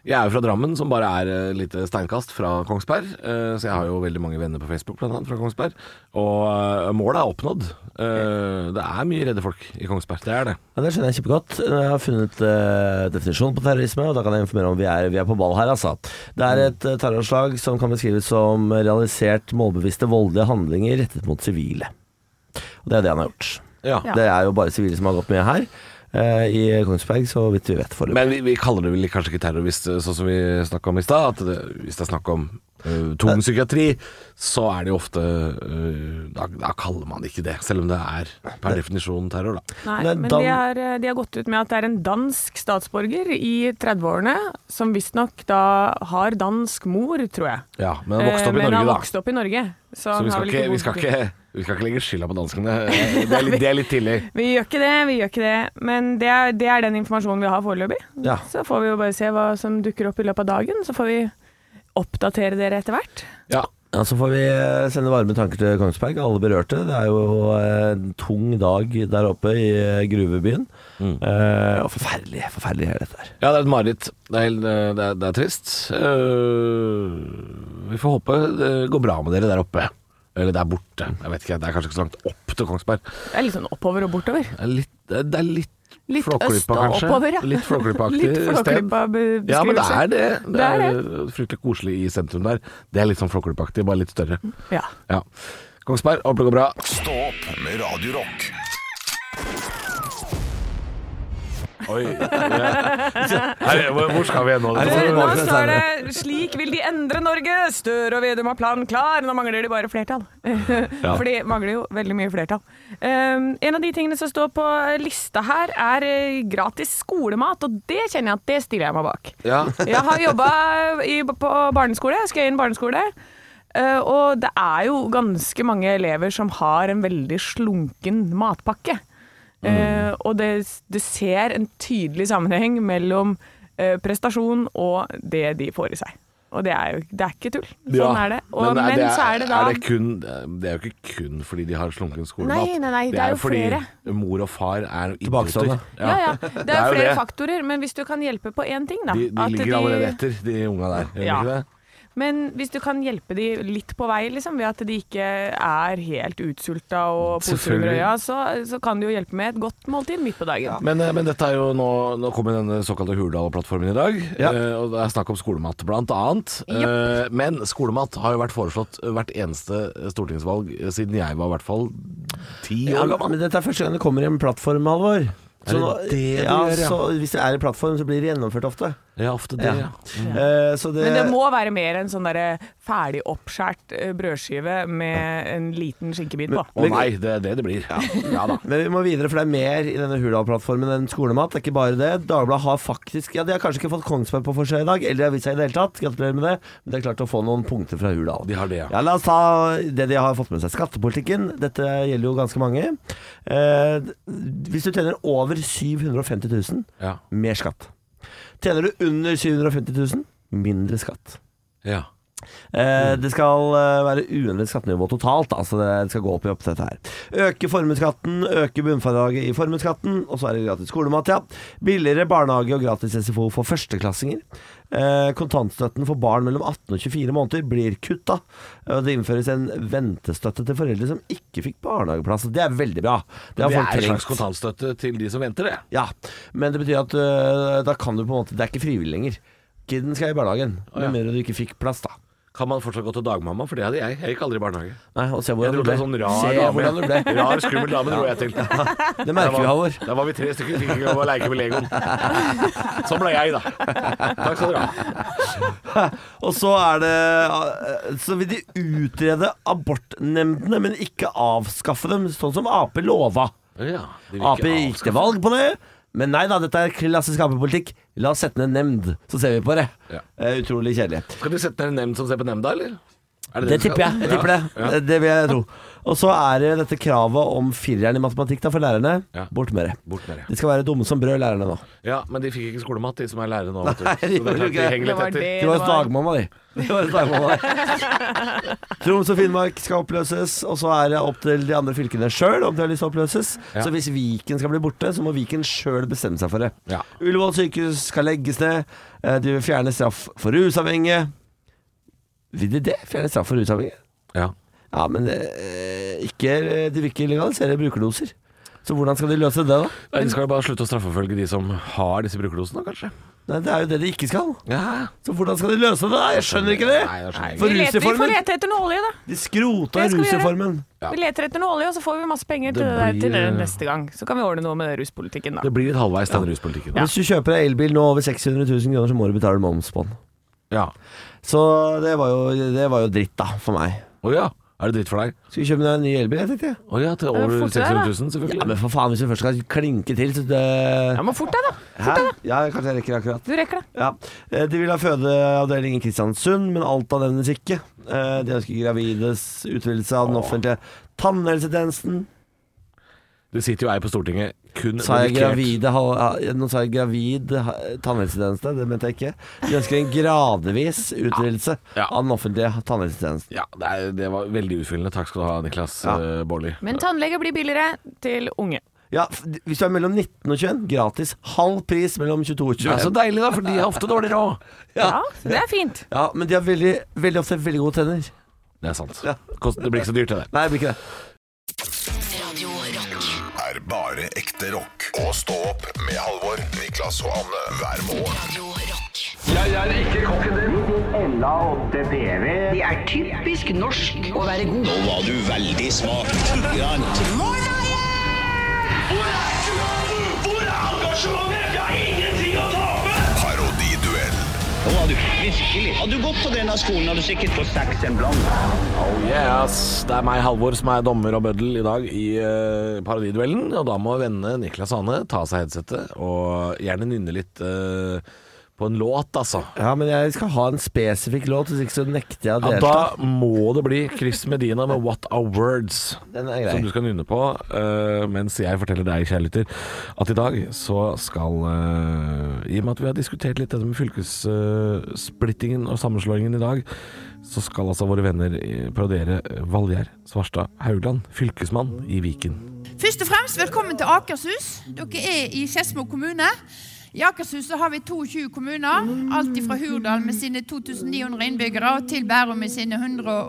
[SPEAKER 3] jeg er jo fra Drammen, som bare er et lite steinkast fra Kongsberg. øh, så jeg har jo veldig mange venner på Facebook, blant annet, fra Kongsberg. Og øh, målet er oppnådd. Uh, det er mye redde folk i Kongsberg. Det er det.
[SPEAKER 4] Ja, det skjønner jeg kjempegodt. Jeg har funnet eh, definisjonen på terrorisme, og da kan jeg informere om vi er, vi er på ball her, altså. Det
[SPEAKER 3] Mm.
[SPEAKER 4] er et eh, terroranslag som kan beskrives som realisert målbevisste voldelige handlinger rettet mot sivile. Og det er det han har gjort.
[SPEAKER 3] Ja.
[SPEAKER 5] Ja.
[SPEAKER 4] Det er jo bare sivile som har gått med her. eh, I Kongsberg, så vidt vi vet foreløpig.
[SPEAKER 3] Men vi, vi kaller det vel kanskje ikke terror, hvis, det- sånn som vi snakka om i stad. At det, hvis det er snakk om øh, tung psykiatri, så er det jo ofte øh, da, da kaller man det ikke det. Selv om det er per definisjon terror, da.
[SPEAKER 5] Nei,
[SPEAKER 4] Men
[SPEAKER 5] men
[SPEAKER 4] Dan-
[SPEAKER 5] de, har, eh, de har gått ut med at det er en dansk statsborger i 30-årene, som visstnok da har dansk mor, tror jeg.
[SPEAKER 3] Ja, men han vokste opp
[SPEAKER 5] Eh, men
[SPEAKER 3] i Norge,
[SPEAKER 5] han
[SPEAKER 3] da.
[SPEAKER 5] vokste opp i Norge. Så,
[SPEAKER 3] Så
[SPEAKER 5] han
[SPEAKER 3] vi
[SPEAKER 5] har
[SPEAKER 3] skal,
[SPEAKER 5] vel
[SPEAKER 3] ikke, vi,
[SPEAKER 5] bodd-
[SPEAKER 3] skal ikke, vi skal ikke legge skylda på danskene. Det er litt, det er litt tidlig.
[SPEAKER 5] Vi gjør ikke det, vi gjør ikke det. Men det er, det er den informasjonen vi har foreløpig.
[SPEAKER 4] Ja.
[SPEAKER 5] Så får vi jo bare se hva som dukker opp i løpet av dagen, så får vi oppdatere dere etter hvert.
[SPEAKER 3] Ja.
[SPEAKER 4] Ja, Så får vi eh, sende varme tanker til Kongsberg, alle berørte. Det er jo eh, en tung dag der oppe i eh, gruvebyen.
[SPEAKER 3] Mm.
[SPEAKER 4] Eh, og forferdelig, forferdelig er dette her.
[SPEAKER 3] det er et mareritt. Det, er helt- det, er- det er trist. Eh, vi får håpe det går bra med dere der oppe. Eller der borte. Jeg vet ikke, Det er kanskje ikke så langt opp til Kongsberg.
[SPEAKER 5] Det er litt sånn oppover og bortover.
[SPEAKER 3] Det er litt, det er litt,
[SPEAKER 5] Litt øst
[SPEAKER 3] Flåklypa,
[SPEAKER 5] og
[SPEAKER 3] kanskje.
[SPEAKER 5] oppover, ja.
[SPEAKER 3] Litt Flåklypa-aktig
[SPEAKER 5] Litt Flåklypa
[SPEAKER 3] sted. Ja, men det er
[SPEAKER 5] beskrivelse.
[SPEAKER 3] det. Det
[SPEAKER 5] Det er
[SPEAKER 3] er fryktelig koselig i sentrum der. Det er litt sånn Flåklypa-aktig, bare litt større.
[SPEAKER 5] Ja.
[SPEAKER 3] Ja. Kongsberg, håper det går bra.
[SPEAKER 5] Sånn
[SPEAKER 2] Stå opp med Radio Rock.
[SPEAKER 3] Oi. hvor skal vi hen nå?
[SPEAKER 5] Nå står det 'slik vil de endre Norge'. Støre og Vedum har planen klar. Nå mangler de bare flertall. For de mangler jo veldig mye flertall. Um, en av de tingene som står på lista her, er eh, gratis skolemat. Og det kjenner jeg at det stiller jeg meg bak.
[SPEAKER 3] Ja.
[SPEAKER 5] Jeg har jobba på barneskole, Skøyen barneskole. eh, og det er jo ganske mange elever som har en veldig slunken matpakke.
[SPEAKER 3] Mm.
[SPEAKER 5] Eh, og det, det ser en tydelig sammenheng mellom eh, prestasjon og det de får i seg. Og det er jo det er ikke tull. Sånn
[SPEAKER 3] Ja,
[SPEAKER 5] er det. Og, men,
[SPEAKER 3] er det,
[SPEAKER 5] så er det da
[SPEAKER 3] er det, kun, det er jo ikke kun fordi de har slunken skolemat.
[SPEAKER 5] Nei, nei, nei, det er jo
[SPEAKER 3] fordi
[SPEAKER 5] flere.
[SPEAKER 3] mor og far er idioter.
[SPEAKER 4] Tilbakestående.
[SPEAKER 5] ja, ja. Det er
[SPEAKER 3] jo
[SPEAKER 5] flere
[SPEAKER 3] det.
[SPEAKER 5] faktorer, men hvis du kan hjelpe på én ting, da
[SPEAKER 3] De, de
[SPEAKER 5] at
[SPEAKER 3] ligger allerede etter, de unga der. Gjør de
[SPEAKER 5] Ja.
[SPEAKER 3] ikke det?
[SPEAKER 5] Men hvis du kan hjelpe de litt på vei, liksom, ved at de ikke er helt utsulta og poser under
[SPEAKER 3] Selvfølgelig.
[SPEAKER 5] øya, så, så kan du jo hjelpe med et godt måltid midt på dagen.
[SPEAKER 3] Men, eh, men dette er jo nå, nå kommer denne såkalte Hurdal-plattformen i dag,
[SPEAKER 4] Ja.
[SPEAKER 3] eh, og det er snakk om skolemat blant annet. Eh, Men skolemat har jo vært foreslått hvert eneste stortingsvalg eh, siden jeg var i hvert fall ti
[SPEAKER 4] Ja,
[SPEAKER 3] år gammel.
[SPEAKER 4] men dette er første gang det kommer i en plattform, Alvor.
[SPEAKER 3] Er det det du
[SPEAKER 4] ja,
[SPEAKER 3] gjør, ja?
[SPEAKER 4] så hvis det er en plattform, så blir det gjennomført ofte.
[SPEAKER 3] Ja, ofte det.
[SPEAKER 4] Ja.
[SPEAKER 3] Ja.
[SPEAKER 4] Eh, så det,
[SPEAKER 5] Men det må være mer enn sånn derre ferdig oppskåret eh, brødskive med en liten skinkebit på.
[SPEAKER 3] Å nei, det er det det blir. Ja, da.
[SPEAKER 4] Men vi må videre, for det er mer i denne Hurdal-plattformen enn skolemat. Det er ikke bare det. Dagbladet har faktisk Ja, de har kanskje ikke fått Kongsberg på forsida i dag, eller i avisa i det hele tatt. Gratulerer med det. Men det er klart å få noen punkter fra Hurdal.
[SPEAKER 3] De har det, ja.
[SPEAKER 4] ja. La oss ta det de har fått med seg. Skattepolitikken. Dette gjelder jo ganske mange. Eh, hvis du tjener over 750 000,
[SPEAKER 3] Ja.
[SPEAKER 4] mer skatt. Tjener du under 750 000, mindre skatt.
[SPEAKER 3] Ja.
[SPEAKER 4] Eh,
[SPEAKER 3] Mm.
[SPEAKER 4] det skal eh, være uendret skattenivå totalt. Altså det, det skal gå opp i opp til dette her. Øke formuesskatten, øke bunnfradraget i formuesskatten, og så er det gratis skolemat, ja. Billigere barnehage og gratis SFO for førsteklassinger. Eh, kontantstøtten for barn mellom 18 og 24 måneder blir kutta. Og det innføres en ventestøtte til foreldre som ikke fikk barnehageplass. og Det er veldig bra. Det, har
[SPEAKER 3] Det
[SPEAKER 4] folk
[SPEAKER 3] er en
[SPEAKER 4] trengt.
[SPEAKER 3] slags kontantstøtte til de som venter det.
[SPEAKER 4] Ja, men det betyr at øh, da kan du på en måte Det er ikke frivillig lenger. Kiden skal i barnehagen,
[SPEAKER 3] ja.
[SPEAKER 4] med mindre du ikke fikk plass, da.
[SPEAKER 3] Kan man fortsatt gå til dagmamma? For det hadde jeg. Jeg gikk aldri i barnehage.
[SPEAKER 4] Nei, altså, og se
[SPEAKER 3] Jeg
[SPEAKER 4] hvordan
[SPEAKER 3] dro
[SPEAKER 4] du ble.
[SPEAKER 3] til en sånn rar
[SPEAKER 4] se
[SPEAKER 3] dame.
[SPEAKER 4] hvordan du ble.
[SPEAKER 3] Rar, skummel dame dro jeg til.
[SPEAKER 4] Det merker vi, Halvor.
[SPEAKER 3] Da var vi tre stykker som fikk lov å leke med Legoen. Sånn ble jeg, da. Takk skal dere ha.
[SPEAKER 4] Og så er det øh, Så vil de utrede abortnemndene, men ikke avskaffe dem, sånn som Ap lova.
[SPEAKER 3] Ja, de vil
[SPEAKER 4] Ap
[SPEAKER 3] ikke
[SPEAKER 4] gikk
[SPEAKER 3] avskaffe-
[SPEAKER 4] til valg på det. Men nei da, dette er klassisk Ap-politikk. La oss sette ned en nemnd, så ser vi på det.
[SPEAKER 3] Ja.
[SPEAKER 4] Eh, utrolig kjedelig.
[SPEAKER 3] Skal de sette ned en nemnd som ser på nemnda, eller? Er
[SPEAKER 4] Det
[SPEAKER 3] de skal-
[SPEAKER 4] tipper jeg. jeg tipper det. det. Det vil jeg tro. Og så er det dette kravet om fireren i matematikk da for lærerne.
[SPEAKER 3] Ja.
[SPEAKER 4] Bort med det.
[SPEAKER 3] Bort med det.
[SPEAKER 4] De skal være dumme som brød, lærerne nå.
[SPEAKER 3] Ja, men de fikk ikke skolemat, de som er lærere nå. vet du.
[SPEAKER 4] Nei,
[SPEAKER 3] Så
[SPEAKER 4] de gjorde
[SPEAKER 3] det er
[SPEAKER 4] ikke
[SPEAKER 3] klart
[SPEAKER 4] det.
[SPEAKER 3] de henger
[SPEAKER 5] Det
[SPEAKER 3] litt
[SPEAKER 5] var
[SPEAKER 3] etter.
[SPEAKER 5] det
[SPEAKER 4] De var hos
[SPEAKER 5] det var.
[SPEAKER 4] dagmamma, de. De var hos dagmamma, de. Troms og Finnmark skal oppløses, og så er det opp til de andre fylkene sjøl om de har lyst til å oppløses.
[SPEAKER 3] Ja.
[SPEAKER 4] Så hvis Viken skal bli borte, så må Viken sjøl bestemme seg for det.
[SPEAKER 3] Ja.
[SPEAKER 4] Ullevål sykehus skal legges ned. Eh, De vil fjerne straff for rusavhengige. Vil de det? Fjerne straff for rusavhengige?
[SPEAKER 3] Ja.
[SPEAKER 4] Ja, men eh, ikke, de vil ikke legalisere brukerdoser. Så hvordan skal de løse det, da?
[SPEAKER 3] Nei, De skal jo bare slutte å straffeforfølge de som har disse brukerdosene, kanskje.
[SPEAKER 4] Nei, Det er jo det de ikke skal.
[SPEAKER 3] Ja.
[SPEAKER 4] Så hvordan skal de løse det? da? Jeg skjønner ikke det.
[SPEAKER 3] Nei, jeg skjønner ikke.
[SPEAKER 4] For
[SPEAKER 5] Vi, leter, vi får
[SPEAKER 4] rusreformen
[SPEAKER 5] lete etter noe olje, da.
[SPEAKER 4] De skrota
[SPEAKER 5] Det skal vi gjøre.
[SPEAKER 4] rusreformen.
[SPEAKER 3] Ja.
[SPEAKER 5] Vi leter etter noe olje, og så får vi masse penger til det,
[SPEAKER 3] Det
[SPEAKER 5] der, til det
[SPEAKER 3] blir-
[SPEAKER 5] neste gang. Så kan vi ordne noe med ruspolitikken, da.
[SPEAKER 3] Det blir litt halvveis, den ruspolitikken.
[SPEAKER 4] Hvis du kjøper deg elbil nå over 600 000 kroner, så må du betale moms på den.
[SPEAKER 3] Ja.
[SPEAKER 4] Så det var jo, det var jo dritt, da, for meg.
[SPEAKER 3] Å ja. Er det dritt for deg?
[SPEAKER 4] Skal vi kjøpe deg en ny elbil, jeg tenkte jeg.
[SPEAKER 3] Å ja, til
[SPEAKER 5] er
[SPEAKER 3] over
[SPEAKER 5] fort det der, da.
[SPEAKER 3] 600 000, selvfølgelig.
[SPEAKER 4] Ja, men for faen, hvis du først skal klinke til, så det
[SPEAKER 5] Ja, men fort deg, da.
[SPEAKER 4] Hæ? Ja, kanskje jeg rekker akkurat.
[SPEAKER 5] Du rekker det.
[SPEAKER 4] Ja. Eh, De vil ha fødeavdeling i Kristiansund, men Alta nevnes ikke. Eh, De ønsker gravides utvidelse av den offentlige tannhelsetjenesten.
[SPEAKER 3] Det sitter jo ei på Stortinget kun
[SPEAKER 4] Sa jeg
[SPEAKER 3] dedikert-
[SPEAKER 4] gravide hal- ja, Nå sa jeg gravid ha- tannhelsetjeneste, det mente jeg ikke. De ønsker en gradvis utvidelse
[SPEAKER 3] Ja.
[SPEAKER 4] av den offentlige tannhelsetjenesten.
[SPEAKER 3] Ja, det, er, det var veldig utfyllende. Takk skal du ha, Niklas
[SPEAKER 4] Ja.
[SPEAKER 3] eh, Baarli.
[SPEAKER 5] Men tannlege blir billigere til unge.
[SPEAKER 4] Ja, f- hvis du er mellom 19 og 21, gratis. Halv pris mellom 22 og
[SPEAKER 3] Det er så
[SPEAKER 4] 21.
[SPEAKER 3] deilig, Altså, da, for de har ofte dårlig råd.
[SPEAKER 5] Ja, så det er fint.
[SPEAKER 4] Ja, men de har veldig, veldig ofte veldig gode tenner.
[SPEAKER 3] Det er sant.
[SPEAKER 4] Ja.
[SPEAKER 3] Kost- Det blir ikke så dyrt, det der.
[SPEAKER 4] Nei, det blir ikke det.
[SPEAKER 1] Radio Rock.
[SPEAKER 2] er bare ekte rock. Og stå opp med Halvor, Niklas og Anne hver morgen.
[SPEAKER 1] Radio Rock.
[SPEAKER 9] Det E er typisk norsk å være god. Nå var du veldig smak.
[SPEAKER 8] Hvor er engasjementet? Jeg har ingenting å tape!
[SPEAKER 2] Parodiduell.
[SPEAKER 9] Nå var du virkelig. Hadde du gått på denne skolen, hadde du sikkert fått seks en blant.
[SPEAKER 3] Oh yes. Det er meg, Halvor, som er dommer og bøddel i dag i eh, parodiduellen. Og da må vennene Niklas og Anne ta av seg headsetet og gjerne nynne litt eh, på en låt, altså.
[SPEAKER 4] Ja, men jeg skal ha en spesifikk låt, hvis ikke så nekter jeg å
[SPEAKER 3] Ja,
[SPEAKER 4] delta.
[SPEAKER 3] da må det bli Chris Medina med 'What Are Words'.
[SPEAKER 4] Den er grei.
[SPEAKER 3] Som du skal nynne på eh, mens jeg forteller deg, kjære lytter, at i dag så skal eh, I og med at vi har diskutert litt dette med fylkessplittingen og sammenslåingen i dag, så skal altså våre venner eh, parodiere Valgjerd Svarstad Haugland, fylkesmann i Viken.
[SPEAKER 10] Først og fremst velkommen til Akershus. Dere er i Skedsmo kommune. I Akershus så har vi 22 kommuner, alt fra Hurdal med sine 2900 innbyggere og til Bærum med sine eh, 120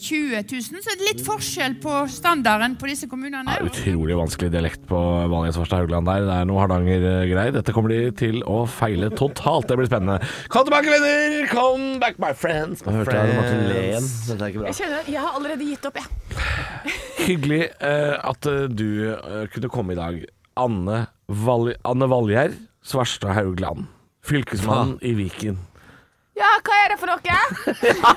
[SPEAKER 10] 000. Så det er litt forskjell på standarden på disse kommunene.
[SPEAKER 3] Utrolig vanskelig dialekt på Valnes Farstad Haugland der. Det er noe Hardanger-greier. Dette kommer de til å feile totalt. Det blir spennende. Kom tilbake, venner! Come back, my friends! My
[SPEAKER 4] Hørte jeg Martin Lehn.
[SPEAKER 3] friends.
[SPEAKER 4] Dette er ikke bra.
[SPEAKER 5] Jeg kjenner at jeg har allerede gitt opp, jeg.
[SPEAKER 3] Hyggelig eh, at eh, du eh, kunne komme i dag. Anne, Val Anne Valgjerd Svarstad Haugland.
[SPEAKER 5] Ah.
[SPEAKER 3] Fylkesmannen i Viken.
[SPEAKER 5] Ja, hva er det for noe?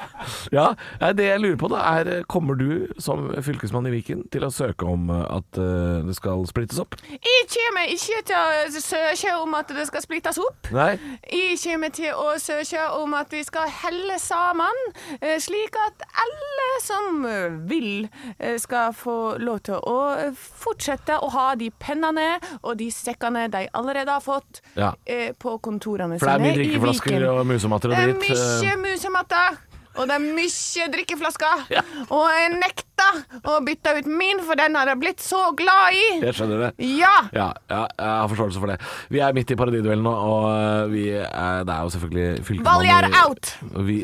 [SPEAKER 3] Ja, nei, Det jeg lurer på, da er eh, Kommer du som fylkesmann i Viken til å søke om eh, at eh, det skal splittes opp?
[SPEAKER 5] Jeg kommer ikke til å søke om at det skal splittes opp.
[SPEAKER 3] Nei?
[SPEAKER 5] Jeg kommer til å søke om at vi skal helle sammen, eh, slik at alle som eh, vil, eh, skal få lov til å eh, fortsette å ha de pennene og de sekkene de allerede har fått
[SPEAKER 3] Ja.
[SPEAKER 5] eh, på kontorene
[SPEAKER 3] For det er
[SPEAKER 5] sine
[SPEAKER 3] mye
[SPEAKER 5] i Viken.
[SPEAKER 3] drikkeflasker og musematter og
[SPEAKER 5] Det er
[SPEAKER 3] dritt. eh.
[SPEAKER 5] mye musematter. Og det er mye drikkeflasker. Og jeg nekter å bytte ut min, for den har jeg blitt så glad i.
[SPEAKER 3] Jeg skjønner det.
[SPEAKER 5] Ja!
[SPEAKER 3] Ja, ja, jeg har forståelse for det. Vi er midt i paradiduellen nå, og eh, vi er, det er jo selvfølgelig
[SPEAKER 5] Valgjerd
[SPEAKER 3] fylkesmannen i-
[SPEAKER 5] out!
[SPEAKER 3] Vi,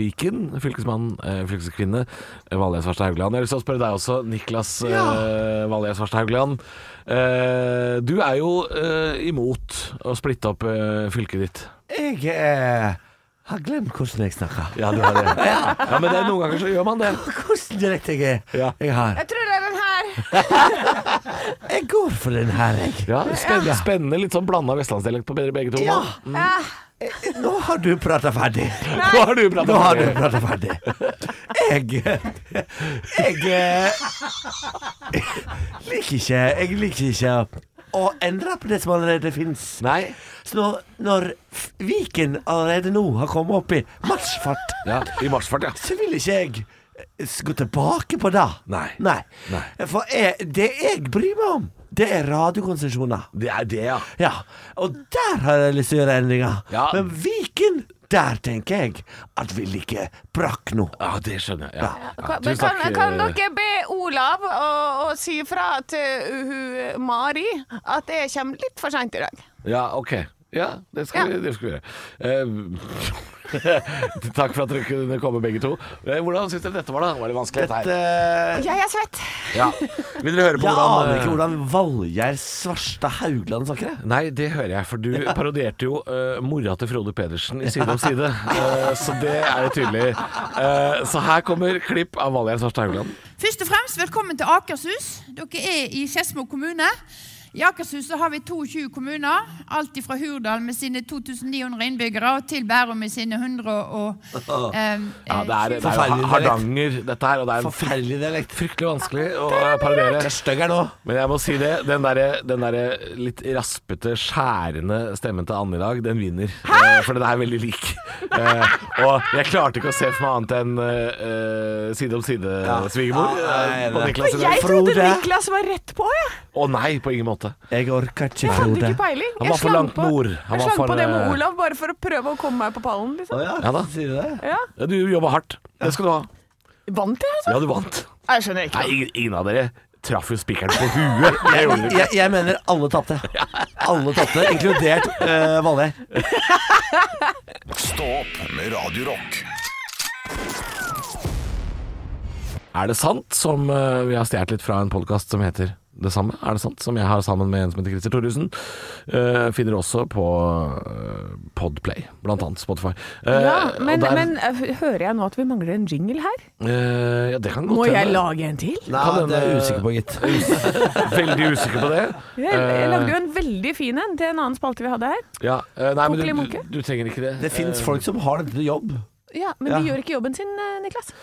[SPEAKER 3] Viken, fylkesmann, eh, fylkeskvinne, eh, Valgjerd Svarstad Haugland. Jeg har lyst til å spørre deg også, Niklas ja. Valgjerd Svarstad Haugland. Eh, du er jo eh, imot å splitte opp eh, fylket ditt.
[SPEAKER 4] Jeg eh, har glemt hvordan jeg snakker.
[SPEAKER 3] Ja, du er det. ja. men det er noen ganger så gjør man det.
[SPEAKER 4] Hvordan dialekt jeg,
[SPEAKER 3] Ja.
[SPEAKER 4] jeg har.
[SPEAKER 5] Jeg tror det er den her.
[SPEAKER 4] Jeg går for den her, jeg.
[SPEAKER 3] Ja, spennende, spennende litt sånn blanda vestlandsdialekt på begge to.
[SPEAKER 4] Ja.
[SPEAKER 3] nå.
[SPEAKER 5] Eh,
[SPEAKER 4] Nå har du prata ferdig.
[SPEAKER 3] Nå har du pratet
[SPEAKER 4] Nå har du
[SPEAKER 3] ferdig.
[SPEAKER 4] prata ferdig. Jeg Jeg eh, liker ikke Jeg liker ikke å endre på det som allerede fins.
[SPEAKER 3] Nei.
[SPEAKER 4] Så når, når F- Viken allerede nå har kommet opp i marsjfart,
[SPEAKER 3] Ja, I marsfart, ja.
[SPEAKER 4] så vil ikke jeg eh, s- gå tilbake på det.
[SPEAKER 3] Nei.
[SPEAKER 4] Nei.
[SPEAKER 3] Nei.
[SPEAKER 4] For jeg, det jeg bryr meg om, det er radiokonsesjoner.
[SPEAKER 3] Det er det, ja.
[SPEAKER 4] Ja, og der har jeg lyst til å gjøre endringer.
[SPEAKER 3] Ja.
[SPEAKER 4] Men Viken, der tenker jeg at vi liker brakk nå.
[SPEAKER 3] Ja, Ah, det skjønner jeg. Ja. Ja,
[SPEAKER 5] kan, men
[SPEAKER 3] tusen
[SPEAKER 5] kan,
[SPEAKER 3] takk,
[SPEAKER 5] kan
[SPEAKER 3] eh,
[SPEAKER 5] dere be Olav å, å si fra til hun eh, Mari at jeg kommer litt for seint i dag?
[SPEAKER 3] Ja, ok. Ja, det skal,
[SPEAKER 5] Ja.
[SPEAKER 3] Vi, det skal vi gjøre. Eh, takk for at dere kunne komme, begge to. Eh, Hvordan syns dere dette var, da? Var det vanskelig? dette her?
[SPEAKER 4] Eh,
[SPEAKER 5] Jeg er svett.
[SPEAKER 3] Ja. Vil dere høre på
[SPEAKER 4] Jeg
[SPEAKER 3] hvordan, eh,
[SPEAKER 4] aner ikke hvordan Valgjerd Svarstad Haugland snakker. jeg.
[SPEAKER 3] Nei, det hører jeg, for du parodierte jo eh, mora til Frode Pedersen i Side om side. Eh, så det er jo tydelig. Eh, så her kommer klipp av Valgjerd Svarstad Haugland.
[SPEAKER 10] Først og fremst velkommen til Akershus. Dere er i Skedsmo kommune. I Akershus så har vi 22 kommuner, alt fra Hurdal med sine 2900 innbyggere og til Bærum med sine 100 og eh,
[SPEAKER 3] Ja, det er, det er jo
[SPEAKER 4] Forferdelig
[SPEAKER 3] Ha- Hardanger, dette her. Og det er en
[SPEAKER 4] Forferdelig dialekt.
[SPEAKER 3] Fryktelig vanskelig å parodiere. Det er stygg her nå. Men jeg må si det. Den derre der litt raspete, skjærende stemmen til Anne i dag, den vinner. Eh, For den er veldig lik. Eh, og jeg klarte ikke å se for meg annet enn eh, eh, Side om side-svigermor.
[SPEAKER 4] Ja, jeg er
[SPEAKER 3] på
[SPEAKER 4] enig.
[SPEAKER 3] Niklas i dag.
[SPEAKER 4] jeg trodde Frode.
[SPEAKER 5] Niklas var rett på, jeg.
[SPEAKER 3] Å nei, på ingen måte.
[SPEAKER 4] Jeg orker ikke,
[SPEAKER 5] Jeg hadde
[SPEAKER 4] Frode.
[SPEAKER 5] ikke peiling.
[SPEAKER 3] Han var
[SPEAKER 5] Jeg
[SPEAKER 3] for
[SPEAKER 5] slang
[SPEAKER 3] langt
[SPEAKER 5] på-
[SPEAKER 3] nord. Han
[SPEAKER 5] Jeg
[SPEAKER 3] var
[SPEAKER 5] slang
[SPEAKER 3] for,
[SPEAKER 5] på det
[SPEAKER 3] eh,
[SPEAKER 5] med Olav bare for å prøve å komme meg på pallen,
[SPEAKER 4] Å
[SPEAKER 5] liksom.
[SPEAKER 4] ja,
[SPEAKER 3] Ja da.
[SPEAKER 4] sier du det?
[SPEAKER 5] Ja.
[SPEAKER 3] Ja, du jobba hardt. Det skal du ha.
[SPEAKER 5] Vant jeg, altså?
[SPEAKER 3] Ja, du vant.
[SPEAKER 5] Jeg skjønner ikke.
[SPEAKER 3] Nei, ingen- ingen av dere traff jo spikeren på huet. Jeg gjorde det ikke.
[SPEAKER 4] Jeg, jeg mener alle tapte. Alle tapte, inkludert uh, Valgjerd.
[SPEAKER 2] Stå opp med Radio Rock.
[SPEAKER 3] Er det sant som eh, vi har stjålet litt fra en podkast som heter det samme? Er det sant? Som jeg har sammen med en som heter Christer Thoresen. Eh, finner også på eh, Podplay, blant annet Spotify. Eh,
[SPEAKER 5] Ja, men,
[SPEAKER 3] og der-
[SPEAKER 5] men eh, hører jeg nå at vi mangler en jingle her?
[SPEAKER 3] eh, ja, det kan godt
[SPEAKER 5] Må
[SPEAKER 3] hende.
[SPEAKER 5] jeg lage en til?
[SPEAKER 4] Nei,
[SPEAKER 3] Kan
[SPEAKER 4] det er jeg
[SPEAKER 3] hende-
[SPEAKER 4] usikker på, gitt.
[SPEAKER 3] Veldig usikker på det.
[SPEAKER 5] Jeg, jeg lagde
[SPEAKER 3] Eh.
[SPEAKER 5] jo en veldig fin en til en annen spalte vi hadde her.
[SPEAKER 3] Ja, eh, nei, men
[SPEAKER 5] Onkel i
[SPEAKER 3] du, du,
[SPEAKER 5] Munke?
[SPEAKER 3] du trenger ikke det.
[SPEAKER 4] Det fins folk som har dette til jobb.
[SPEAKER 5] Ja, Men de gjør ikke jobben sin, eh, Niklas.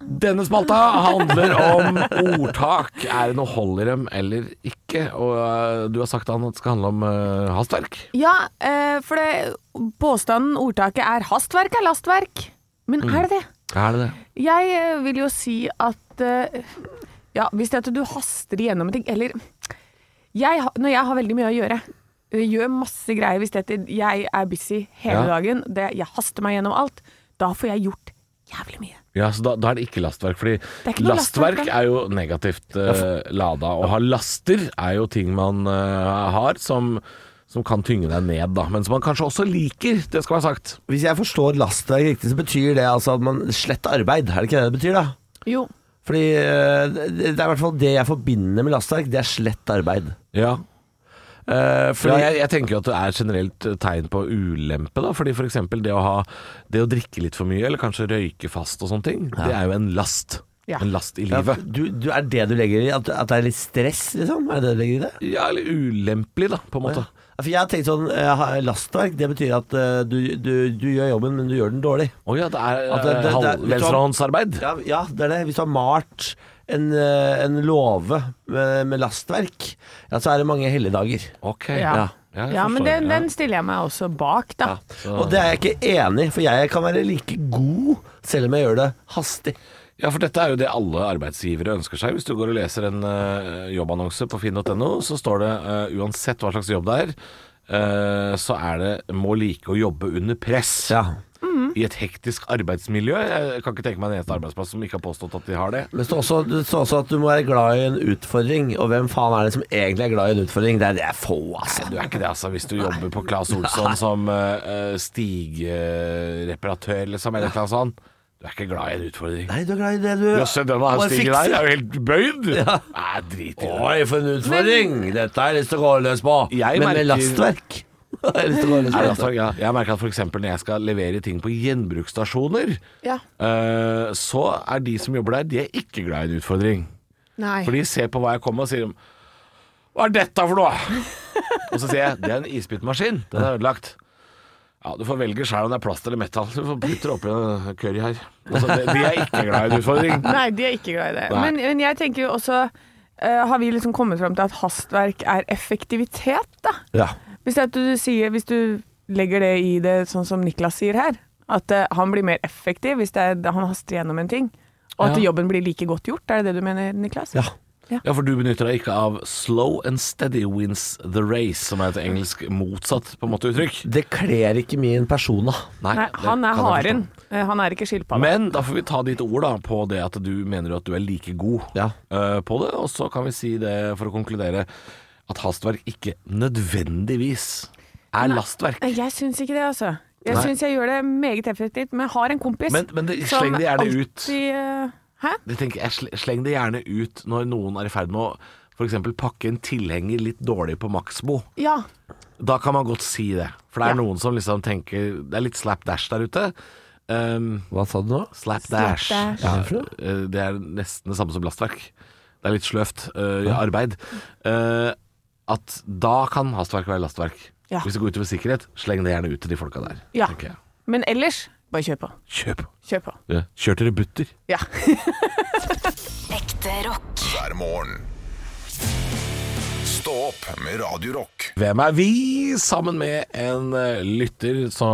[SPEAKER 3] Denne spalta handler om ordtak. Er det noe hold i dem eller ikke? Og eh, du har sagt Ann, at det skal handle om eh, hastverk.
[SPEAKER 5] Ja, eh, for det, påstanden, ordtaket, er hastverk er lastverk. Men
[SPEAKER 3] Mm.
[SPEAKER 5] er det det?
[SPEAKER 3] Er det det?
[SPEAKER 5] Jeg eh, vil jo si at eh, Ja, hvis det er at du haster igjennom en ting Eller jeg, ha- når jeg har veldig mye å gjøre jeg gjør masse greier hvis det er at jeg er busy hele
[SPEAKER 3] Ja.
[SPEAKER 5] dagen, det, jeg haster meg gjennom alt, da får jeg gjort jævlig mye.
[SPEAKER 3] Ja, så da, da er det ikke lastverk, fordi
[SPEAKER 5] er ikke noe
[SPEAKER 3] lastverk,
[SPEAKER 5] lastverk, da.
[SPEAKER 3] er jo negativt eh, lada. Å ha laster er jo ting man eh, har som, som kan tynge deg ned, da. Men som man kanskje også liker, det skal være sagt.
[SPEAKER 4] Hvis jeg forstår lastdag riktig, så betyr det altså at man sletter arbeid. Er det ikke det det betyr, da?
[SPEAKER 5] Jo.
[SPEAKER 4] Fordi eh, det det er i hvert fall det jeg forbinder med lastdag, det er slett arbeid.
[SPEAKER 3] Ja.
[SPEAKER 4] Eh,
[SPEAKER 3] Ja,
[SPEAKER 4] fordi
[SPEAKER 3] jeg, jeg tenker jo at det er generelt eh, tegn på ulempe, da. Fordi f.eks. For det å ha Det å drikke litt for mye, eller kanskje røyke fast og sånne ting, det er jo en last.
[SPEAKER 5] Ja.
[SPEAKER 3] En last i
[SPEAKER 4] ja,
[SPEAKER 3] livet.
[SPEAKER 4] du, du, Er det du legger i at, at det er litt stress, liksom? Er det det du legger i det?
[SPEAKER 3] Ja, eller ulempelig, da, på en måte.
[SPEAKER 4] Ja, For jeg har tenkt sånn eh, ha- Lastverk, det betyr at eh, du, du, du gjør jobben, men du gjør den dårlig.
[SPEAKER 3] Å ja, det er, eh,
[SPEAKER 4] At det- det-
[SPEAKER 3] er
[SPEAKER 4] det- vet du hva-
[SPEAKER 3] venstrehåndsarbeid.
[SPEAKER 4] Ja, ja, det er det. Hvis du har malt en, eh, en låve med, med lastverk, ja, så er det mange helligdager.
[SPEAKER 3] Ok.
[SPEAKER 5] Ja.
[SPEAKER 4] Ja.
[SPEAKER 3] Ja, jeg
[SPEAKER 5] Ja, men
[SPEAKER 3] forstår.
[SPEAKER 5] den,
[SPEAKER 3] Ja.
[SPEAKER 5] den stiller jeg meg også bak, da.
[SPEAKER 4] Og det er jeg ikke enig i, for jeg kan være like god selv om jeg gjør det hastig.
[SPEAKER 3] Ja, for dette er jo det alle arbeidsgivere ønsker seg. Hvis du går og leser en eh, jobbannonse på finn.no, så står det eh, uansett hva slags jobb det er, eh, så er det 'må like å jobbe under press'. I et hektisk arbeidsmiljø. Jeg kan ikke tenke meg en eneste arbeidsplass som ikke har påstått at de har det.
[SPEAKER 4] Men det står også, det står også at du må være glad i en utfordring, og hvem faen er det som egentlig er glad i en utfordring? Det er, det er få, altså.
[SPEAKER 3] Du er ikke det, altså, hvis du jobber på Claes Olsson som uh, stigreparatør, liksom, eller noe sånt. Du er ikke glad i en utfordring.
[SPEAKER 4] Nei, du er glad i det du
[SPEAKER 3] Jøsse, den her
[SPEAKER 4] Bare
[SPEAKER 3] stigen
[SPEAKER 4] fikse.
[SPEAKER 3] der er jo helt bøyd!
[SPEAKER 4] Ja.
[SPEAKER 3] Nei, drit i det.
[SPEAKER 4] Oi, for en utfordring! Dette har jeg lyst til å gå løs på. Men
[SPEAKER 3] Jeg
[SPEAKER 4] med
[SPEAKER 3] merker- altså.
[SPEAKER 4] lastverk har jeg lyst til å gå løs på.
[SPEAKER 3] Ja,
[SPEAKER 4] lastverk.
[SPEAKER 3] ja. Jeg merker at for eksempel når jeg skal levere ting på gjenbruksstasjoner,
[SPEAKER 5] Ja.
[SPEAKER 3] eh, så er de som jobber der, de er ikke glad i en utfordring.
[SPEAKER 5] Nei.
[SPEAKER 3] For de ser på hva jeg kommer og sier Hva er dette for noe? og så sier jeg det er en isbitmaskin. Den er ødelagt. Ja, Du får velge sjøl om det er plast eller metall. Så Du får putte oppi en curry her. Altså, de, de er ikke glad i en utfordring.
[SPEAKER 5] Nei, de er ikke glad i det.
[SPEAKER 3] Nei.
[SPEAKER 5] Men, men jeg tenker jo også eh, Har vi liksom kommet fram til at hastverk er effektivitet, da?
[SPEAKER 4] Ja.
[SPEAKER 5] Hvis, det at du sier, hvis du legger det i det sånn som Niklas sier her, at eh, han blir mer effektiv hvis det er, han haster gjennom en ting, og at
[SPEAKER 3] Ja.
[SPEAKER 5] jobben blir like godt gjort, er det det du mener, Niklas?
[SPEAKER 4] Ja.
[SPEAKER 3] Ja, for du benytter deg ikke av 'slow and steady wins the race', som er et engelsk motsatt på en måte uttrykk.
[SPEAKER 4] Det kler ikke min persona.
[SPEAKER 5] Nei,
[SPEAKER 3] det
[SPEAKER 5] han er
[SPEAKER 3] kan jeg
[SPEAKER 5] haren.
[SPEAKER 3] forstå.
[SPEAKER 5] Eh, Han er ikke skilpadda.
[SPEAKER 3] Men da får vi ta ditt ord da på det at du mener at du er like god
[SPEAKER 4] Ja.
[SPEAKER 3] eh, på det, og så kan vi si det for å konkludere at hastverk ikke nødvendigvis er lastverk.
[SPEAKER 5] Nei, Jeg syns ikke det, altså. Jeg
[SPEAKER 3] Nei.
[SPEAKER 5] syns jeg gjør det meget effektivt, men jeg har en kompis
[SPEAKER 3] Men- men det-
[SPEAKER 5] som
[SPEAKER 3] sleng det gjerne ut.
[SPEAKER 5] alltid eh, Hæ?
[SPEAKER 3] Jeg tenker, jeg sle- Sleng det gjerne ut når noen er i ferd med å f.eks. pakke en tilhenger litt dårlig på Maxbo.
[SPEAKER 5] Ja.
[SPEAKER 3] Da kan man godt si det. For det er
[SPEAKER 5] Ja.
[SPEAKER 3] noen som liksom tenker Det er litt slapdash der ute. Um,
[SPEAKER 4] Hva sa du nå?
[SPEAKER 3] Slapdash.
[SPEAKER 5] Slapdash.
[SPEAKER 3] Ja, eh, det er nesten det samme som lastverk. Det er litt sløvt eh, i arbeid. Eh, at da kan hastverk være lastverk.
[SPEAKER 5] Ja.
[SPEAKER 3] Hvis det går utover sikkerhet, sleng det gjerne ut til de folka der.
[SPEAKER 5] Ja.
[SPEAKER 3] tenker jeg.
[SPEAKER 5] Men ellers, bare kjør på.
[SPEAKER 3] Kjøp.
[SPEAKER 5] Kjør på.
[SPEAKER 3] Ja. Kjør til rebutter.
[SPEAKER 5] Ja.
[SPEAKER 1] Ekte rock.
[SPEAKER 2] hver morgen. Stå opp med Radio Rock.
[SPEAKER 3] Hvem er vi? Sammen med en eh, lytter. Så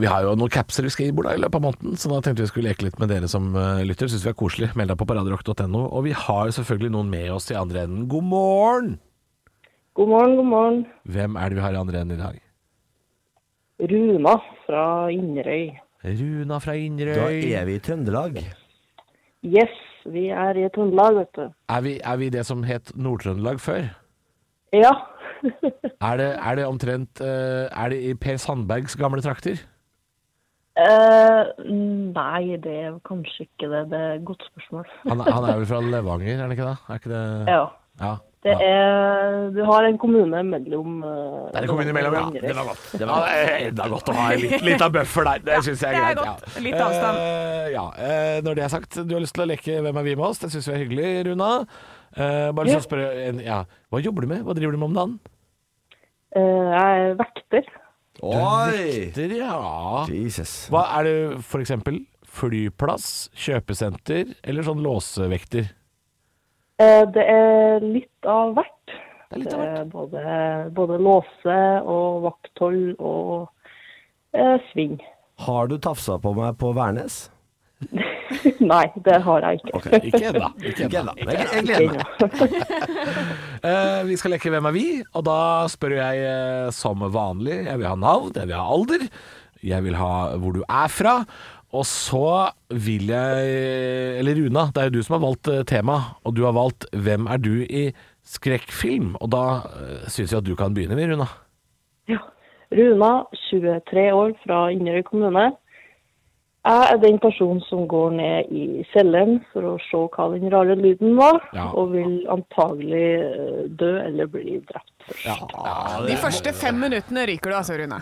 [SPEAKER 3] vi har jo noen capser vi skal gi bort da, i løpet av måneden, så da tenkte vi skulle leke litt med dere som eh, lytter. Syns vi er koselig. Meld deg på på radiorock.no. Og vi har selvfølgelig noen med oss i andre enden. God morgen!
[SPEAKER 11] God morgen, god morgen.
[SPEAKER 3] Hvem er det vi har i andre enden i dag?
[SPEAKER 11] Runa fra Inderøy.
[SPEAKER 3] Runa fra Inderøy.
[SPEAKER 4] Du er evig i Trøndelag.
[SPEAKER 11] Yes, vi er i Trøndelag, vet du.
[SPEAKER 3] Er vi, er vi det som het Nord-Trøndelag før?
[SPEAKER 11] Ja.
[SPEAKER 3] Er det, er det omtrent eh, Er det i Per Sandbergs gamle trakter?
[SPEAKER 11] Eh, nei, det er kanskje ikke det. Det er et godt spørsmål.
[SPEAKER 3] Han, er- han er vel fra Levanger, er han ikke det? Er ikke det
[SPEAKER 11] Ja.
[SPEAKER 3] ja.
[SPEAKER 11] Det er Du har en kommune mellom eh,
[SPEAKER 3] Det kom inn imellom, ja. Det var godt. Det var enda godt å ha litt, av bøffer der. Det syns
[SPEAKER 5] det
[SPEAKER 3] jeg er
[SPEAKER 5] er
[SPEAKER 3] greit.
[SPEAKER 5] godt. Litt avstand.
[SPEAKER 3] Eh, ja. eh, når det er sagt, du har lyst til å leke Hvem er vi med oss? Det syns vi er hyggelig, Runa. Eh, bare lyst til å spørre en, ja. Hva jobber du med? Hva driver du med om dagen?
[SPEAKER 11] Eh, jeg er vekter.
[SPEAKER 4] Oi!
[SPEAKER 3] Vekter, ja.
[SPEAKER 4] Jesus.
[SPEAKER 3] Hva er det for eksempel? Flyplass, kjøpesenter eller sånn låsevekter?
[SPEAKER 11] Eh, det er litt av hvert.
[SPEAKER 3] Det er litt av hvert.
[SPEAKER 11] Det er både, både låse og vakthold og eh, sving.
[SPEAKER 4] Har du tafsa på meg på Værnes?
[SPEAKER 11] nei, det har jeg ikke.
[SPEAKER 3] Ikke ennå. Ikke ennå.
[SPEAKER 4] Gleder meg. Jeg, jeg gleder meg.
[SPEAKER 3] Eh, vi skal leke Hvem er vi? Og da spør jeg eh, som vanlig. Jeg vil ha navn, jeg vil ha alder, jeg vil ha hvor du er fra. Og så vil jeg Eller Runa, det er jo du som har valgt eh, tema, og du har valgt 'Hvem er du i skrekkfilm?' Og da eh, syns jeg at du kan begynne, vi, Runa.
[SPEAKER 11] Runa, 23 år, fra Inderøy kommune. Jeg er den personen som går ned i kjelleren for å se hva den rare lyden var,
[SPEAKER 12] Ja.
[SPEAKER 11] og vil antagelig eh, dø eller bli drept.
[SPEAKER 3] Ja.
[SPEAKER 5] De første fem minuttene ryker du altså, Rune.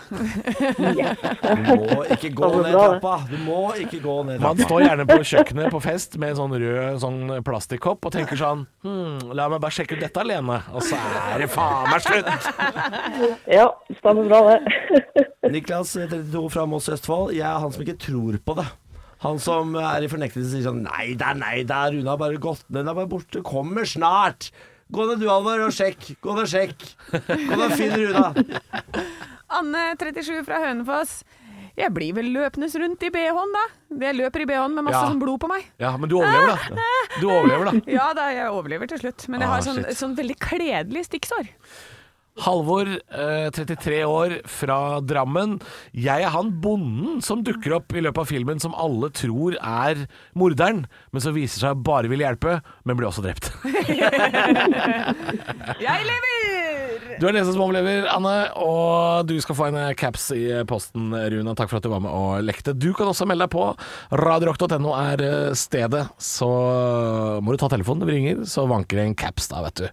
[SPEAKER 4] må ikke gå ned trappa. Du må ikke gå ned trappa.
[SPEAKER 3] Man står gjerne på kjøkkenet på fest med en sånn rød sånn plastikkopp og tenker sånn hm, La meg bare sjekke ut dette alene, og så er det faen meg slutt!
[SPEAKER 11] Ja, stemmer bra det.
[SPEAKER 4] Niklas, eh, 32, fra Moss i Østfold. Jeg er han som ikke tror på det. Han som er i fornektelse sier sånn Nei da, nei da, Rune har bare gått ned. Den er bare borte. Kommer snart. Gå ned du, Alvar, og sjekk. Gå ned og sjekk. Gå ned og finn Runa.
[SPEAKER 5] Anne, 37, fra Hønefoss. Jeg blir vel løpende rundt i BH-en, da. Jeg løper i BH-en med masse
[SPEAKER 3] Ja.
[SPEAKER 5] sånn blod på meg.
[SPEAKER 3] Ja, men du overlever, da. Du overlever, da.
[SPEAKER 5] Ja da, jeg overlever til slutt. Men jeg
[SPEAKER 3] Ah,
[SPEAKER 5] har sånn,
[SPEAKER 3] shit.
[SPEAKER 5] sånn veldig kledelig stikksår.
[SPEAKER 3] Halvor, eh, 33 år, fra Drammen. Jeg er han bonden som dukker opp i løpet av filmen som alle tror er morderen, men som viser seg bare vil hjelpe, men blir også drept.
[SPEAKER 5] Jeg lever!
[SPEAKER 3] Du er lese som overlever, Anne, og du skal få en caps i posten, Rune. Takk for at du var med og lekte. Du kan også melde deg på. Radiorock.no er eh, stedet. Så må du ta telefonen når vi ringer, så vanker det en caps da, vet du.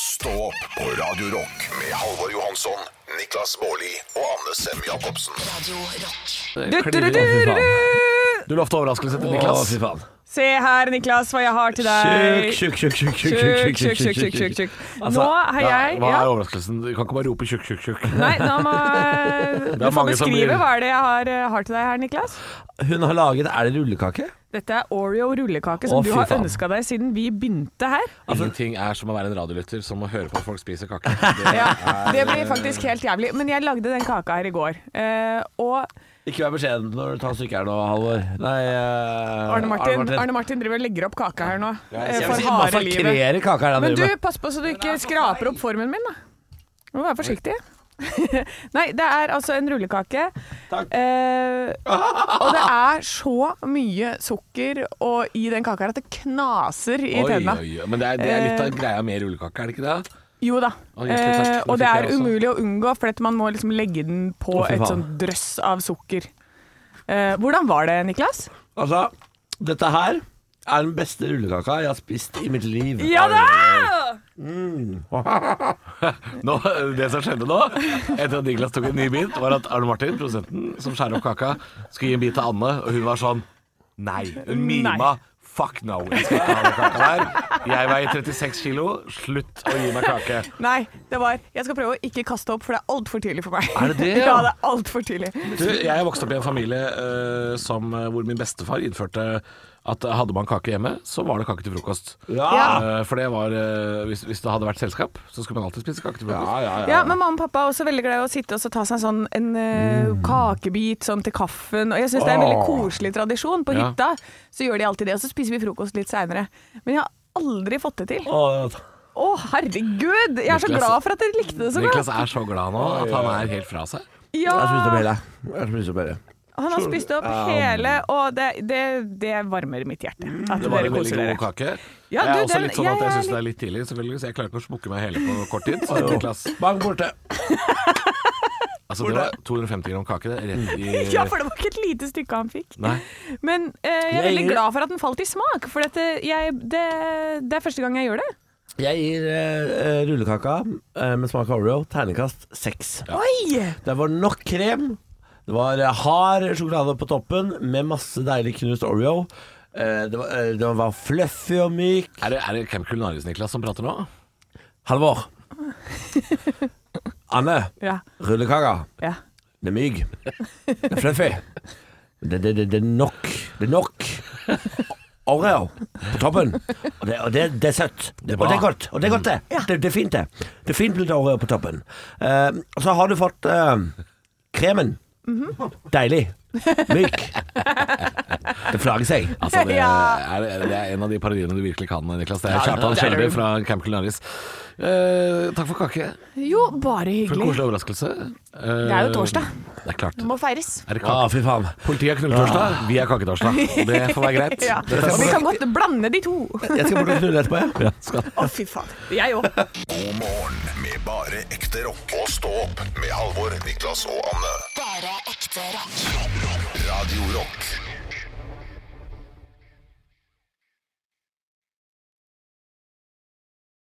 [SPEAKER 2] Stå opp på Radio Rock med Halvor Johansson, Niklas Baarli og Anne Sem Jacobsen. Radio Rock.
[SPEAKER 3] Det klirrer, da, fy faen. Du lovte overraskelse til Niklas.
[SPEAKER 4] Å, fy faen.
[SPEAKER 5] Se her, Niklas, hva jeg har til deg.
[SPEAKER 4] Tjukk, tjukk, tjukk, tjukk,
[SPEAKER 5] Tjukk,
[SPEAKER 4] tjukk,
[SPEAKER 5] tjukk, tjukk, tjukk, tjukk. Nå har jeg
[SPEAKER 3] Altså, Hva
[SPEAKER 5] ja.
[SPEAKER 3] er overraskelsen? Du kan ikke bare rope tjukk, tjukk, tjukk.
[SPEAKER 5] Nei, nå må
[SPEAKER 3] Det er
[SPEAKER 5] du få
[SPEAKER 3] mange som
[SPEAKER 5] beskrive
[SPEAKER 3] blir-
[SPEAKER 5] hva er det jeg har, eh, har til deg her, Niklas.
[SPEAKER 4] Hun har laget Er det rullekake?
[SPEAKER 5] Dette er Oreo rullekake som
[SPEAKER 3] Å,
[SPEAKER 5] du
[SPEAKER 3] fy
[SPEAKER 5] har
[SPEAKER 3] faen.
[SPEAKER 5] ønska deg siden vi begynte her.
[SPEAKER 4] Altså-
[SPEAKER 3] Ingenting er som å være en radiolytter som må høre på at folk spiser kake.
[SPEAKER 5] Ja, Det blir faktisk helt jævlig. Men jeg lagde den kaka her i går. Eh, og
[SPEAKER 4] Ikke vær beskjeden når du tar stykket her nå, Halvor. Nei eh,
[SPEAKER 5] Arne Martin, Arne Martin driver og legger opp kaka her nå.
[SPEAKER 4] Ja,
[SPEAKER 5] eh,
[SPEAKER 4] jeg vil si,
[SPEAKER 5] For
[SPEAKER 4] bare
[SPEAKER 5] harde
[SPEAKER 4] forkrerer
[SPEAKER 5] livet.
[SPEAKER 4] kaka her han
[SPEAKER 5] Men du,
[SPEAKER 4] driver med.
[SPEAKER 5] pass på så du ikke skraper opp formen min, da. Du må være forsiktig. Nei, det er altså en rullekake. Eh, og det er så mye sukker og i den kaka her at det knaser i
[SPEAKER 3] Oi,
[SPEAKER 5] tenna.
[SPEAKER 3] oi, oi. Men det er, det er litt
[SPEAKER 5] Eh,
[SPEAKER 3] av greia med rullekake, er det ikke det?
[SPEAKER 5] Jo da.
[SPEAKER 3] Å, jøss, litt
[SPEAKER 5] Eh,
[SPEAKER 3] fersk. Nå
[SPEAKER 5] og det
[SPEAKER 3] fikk
[SPEAKER 5] er
[SPEAKER 3] jeg også.
[SPEAKER 5] umulig å unngå, for at man må liksom legge den på
[SPEAKER 4] Å, fy
[SPEAKER 5] et
[SPEAKER 4] faen.
[SPEAKER 5] sånt drøss av sukker. Eh, hvordan var det, Niklas?
[SPEAKER 4] Altså, dette her er den beste rullekaka jeg har spist i mitt liv.
[SPEAKER 5] Ja da!
[SPEAKER 3] nå, det som skjedde nå, etter at Niklas tok en ny bit, var at Arne Martin, produsenten som skjærer opp kaka, skulle gi en bit til Anne, og hun var sånn Nei. Hun mima.
[SPEAKER 5] Nei.
[SPEAKER 3] Fuck no. Jeg skal ikke ha den kaka der. Jeg veier 36 kilo. Slutt å gi meg kake.
[SPEAKER 5] Nei, det var Jeg skal prøve å ikke kaste opp, for det er altfor tidlig for meg.
[SPEAKER 3] Er det det, ja?
[SPEAKER 5] ja? det er altfor tidlig.
[SPEAKER 3] Du, jeg vokste opp i en familie eh, som, eh, hvor min bestefar innførte at hadde man kake hjemme, så var det kake til frokost.
[SPEAKER 5] Ja.
[SPEAKER 3] Eh, for det var eh, hvis, hvis det hadde vært selskap, så skulle man alltid spise kake til frokost.
[SPEAKER 5] Ja, men Mamma og pappa er også veldig glad i å sitte og så ta seg sånn en eh, kakebit sånn til kaffen. Og jeg syns det er en veldig
[SPEAKER 3] Mm. Åh.
[SPEAKER 5] koselig tradisjon. På
[SPEAKER 3] Ja.
[SPEAKER 5] hytta så gjør de alltid det, og så spiser vi frokost litt seinere. Men jeg har aldri fått det til. Å, herregud! Jeg er så
[SPEAKER 3] Niklas-
[SPEAKER 5] glad for at dere likte det så
[SPEAKER 3] Niklas
[SPEAKER 5] godt.
[SPEAKER 3] er så glad nå at han er helt fra seg.
[SPEAKER 5] Ja. Jeg spiste opp hele.
[SPEAKER 4] Jeg spiste opp hele.
[SPEAKER 5] Han har spist opp
[SPEAKER 3] Ja.
[SPEAKER 5] hele, og det, det, det varmer mitt hjerte. At
[SPEAKER 3] Mm. Det var
[SPEAKER 5] dere
[SPEAKER 3] en veldig
[SPEAKER 5] koser
[SPEAKER 3] god
[SPEAKER 5] dere.
[SPEAKER 3] kake.
[SPEAKER 5] Ja,
[SPEAKER 3] jeg
[SPEAKER 5] du,
[SPEAKER 3] er også
[SPEAKER 5] den-
[SPEAKER 3] litt sånn at
[SPEAKER 5] jeg
[SPEAKER 3] jeg
[SPEAKER 5] er
[SPEAKER 3] syns det er litt tidlig, selvfølgelig, så jeg klarer ikke å smukke meg hele på kort tid. Så
[SPEAKER 4] Oi, jo.
[SPEAKER 3] Niklas,
[SPEAKER 4] Bang, borte.
[SPEAKER 3] altså, det var 250 gram kake, det. Rett i
[SPEAKER 5] Ja, for det var ikke et lite stykke han fikk.
[SPEAKER 3] Nei.
[SPEAKER 5] Men eh, jeg er
[SPEAKER 4] Jeg
[SPEAKER 5] veldig
[SPEAKER 4] gir-
[SPEAKER 5] glad for at den falt i smak, for dette, jeg, det, det er første gang jeg gjør det.
[SPEAKER 4] Jeg gir eh, rullekaka eh, med smak av Oreo terningkast seks.
[SPEAKER 5] Oi!
[SPEAKER 4] Det var nok krem. Det var eh, hard sjokolade på toppen med masse deilig knust Oreo. Eh, det, var, eh, det var fluffy og myk.
[SPEAKER 3] Er det, er det Camp Culinaris Niklas som prater nå?
[SPEAKER 4] Halvor. Anne.
[SPEAKER 5] Ja.
[SPEAKER 4] Rullekaka.
[SPEAKER 5] Ja.
[SPEAKER 4] Det er myk. Det er fluffy. Det, det, det, det er nok. Det er nok. Oreo på toppen. Og det, og det, det er søtt.
[SPEAKER 3] Det er
[SPEAKER 4] og det er
[SPEAKER 3] bra.
[SPEAKER 4] godt. Og det er godt, det. Det, det er fint, det. Det er fint med litt Oreo på toppen. Eh, og så har du fått eh, kremen. Deilig. Myk. Det flager seg.
[SPEAKER 3] Altså, det,
[SPEAKER 4] Ja.
[SPEAKER 3] er, det er en av de parodiene du virkelig kan, Niklas. Det er
[SPEAKER 4] Ja,
[SPEAKER 3] Kjartan
[SPEAKER 4] det er
[SPEAKER 3] Skjelde
[SPEAKER 4] det.
[SPEAKER 3] fra Camp Culinaris. Eh, takk for kake.
[SPEAKER 5] Jo, bare
[SPEAKER 3] For en koselig
[SPEAKER 5] hyggelig.
[SPEAKER 3] overraskelse. Eh,
[SPEAKER 5] Det er jo torsdag.
[SPEAKER 3] Det er klart.
[SPEAKER 5] Det må feires.
[SPEAKER 3] Er det
[SPEAKER 4] Ja, fy faen.
[SPEAKER 3] Politiet er knulletorsdag, vi er kaketorsdag. Og det får være greit.
[SPEAKER 5] ja. Og vi kan godt blande de to.
[SPEAKER 4] Jeg skal bort og knulle etterpå, jeg.
[SPEAKER 3] Ja, skal.
[SPEAKER 5] Å, fy faen. Jeg òg.
[SPEAKER 2] God morgen med bare ekte rock. Og stå opp med Halvor, Niklas og Anne.
[SPEAKER 1] Bare ekte rock.
[SPEAKER 2] Radio Rock.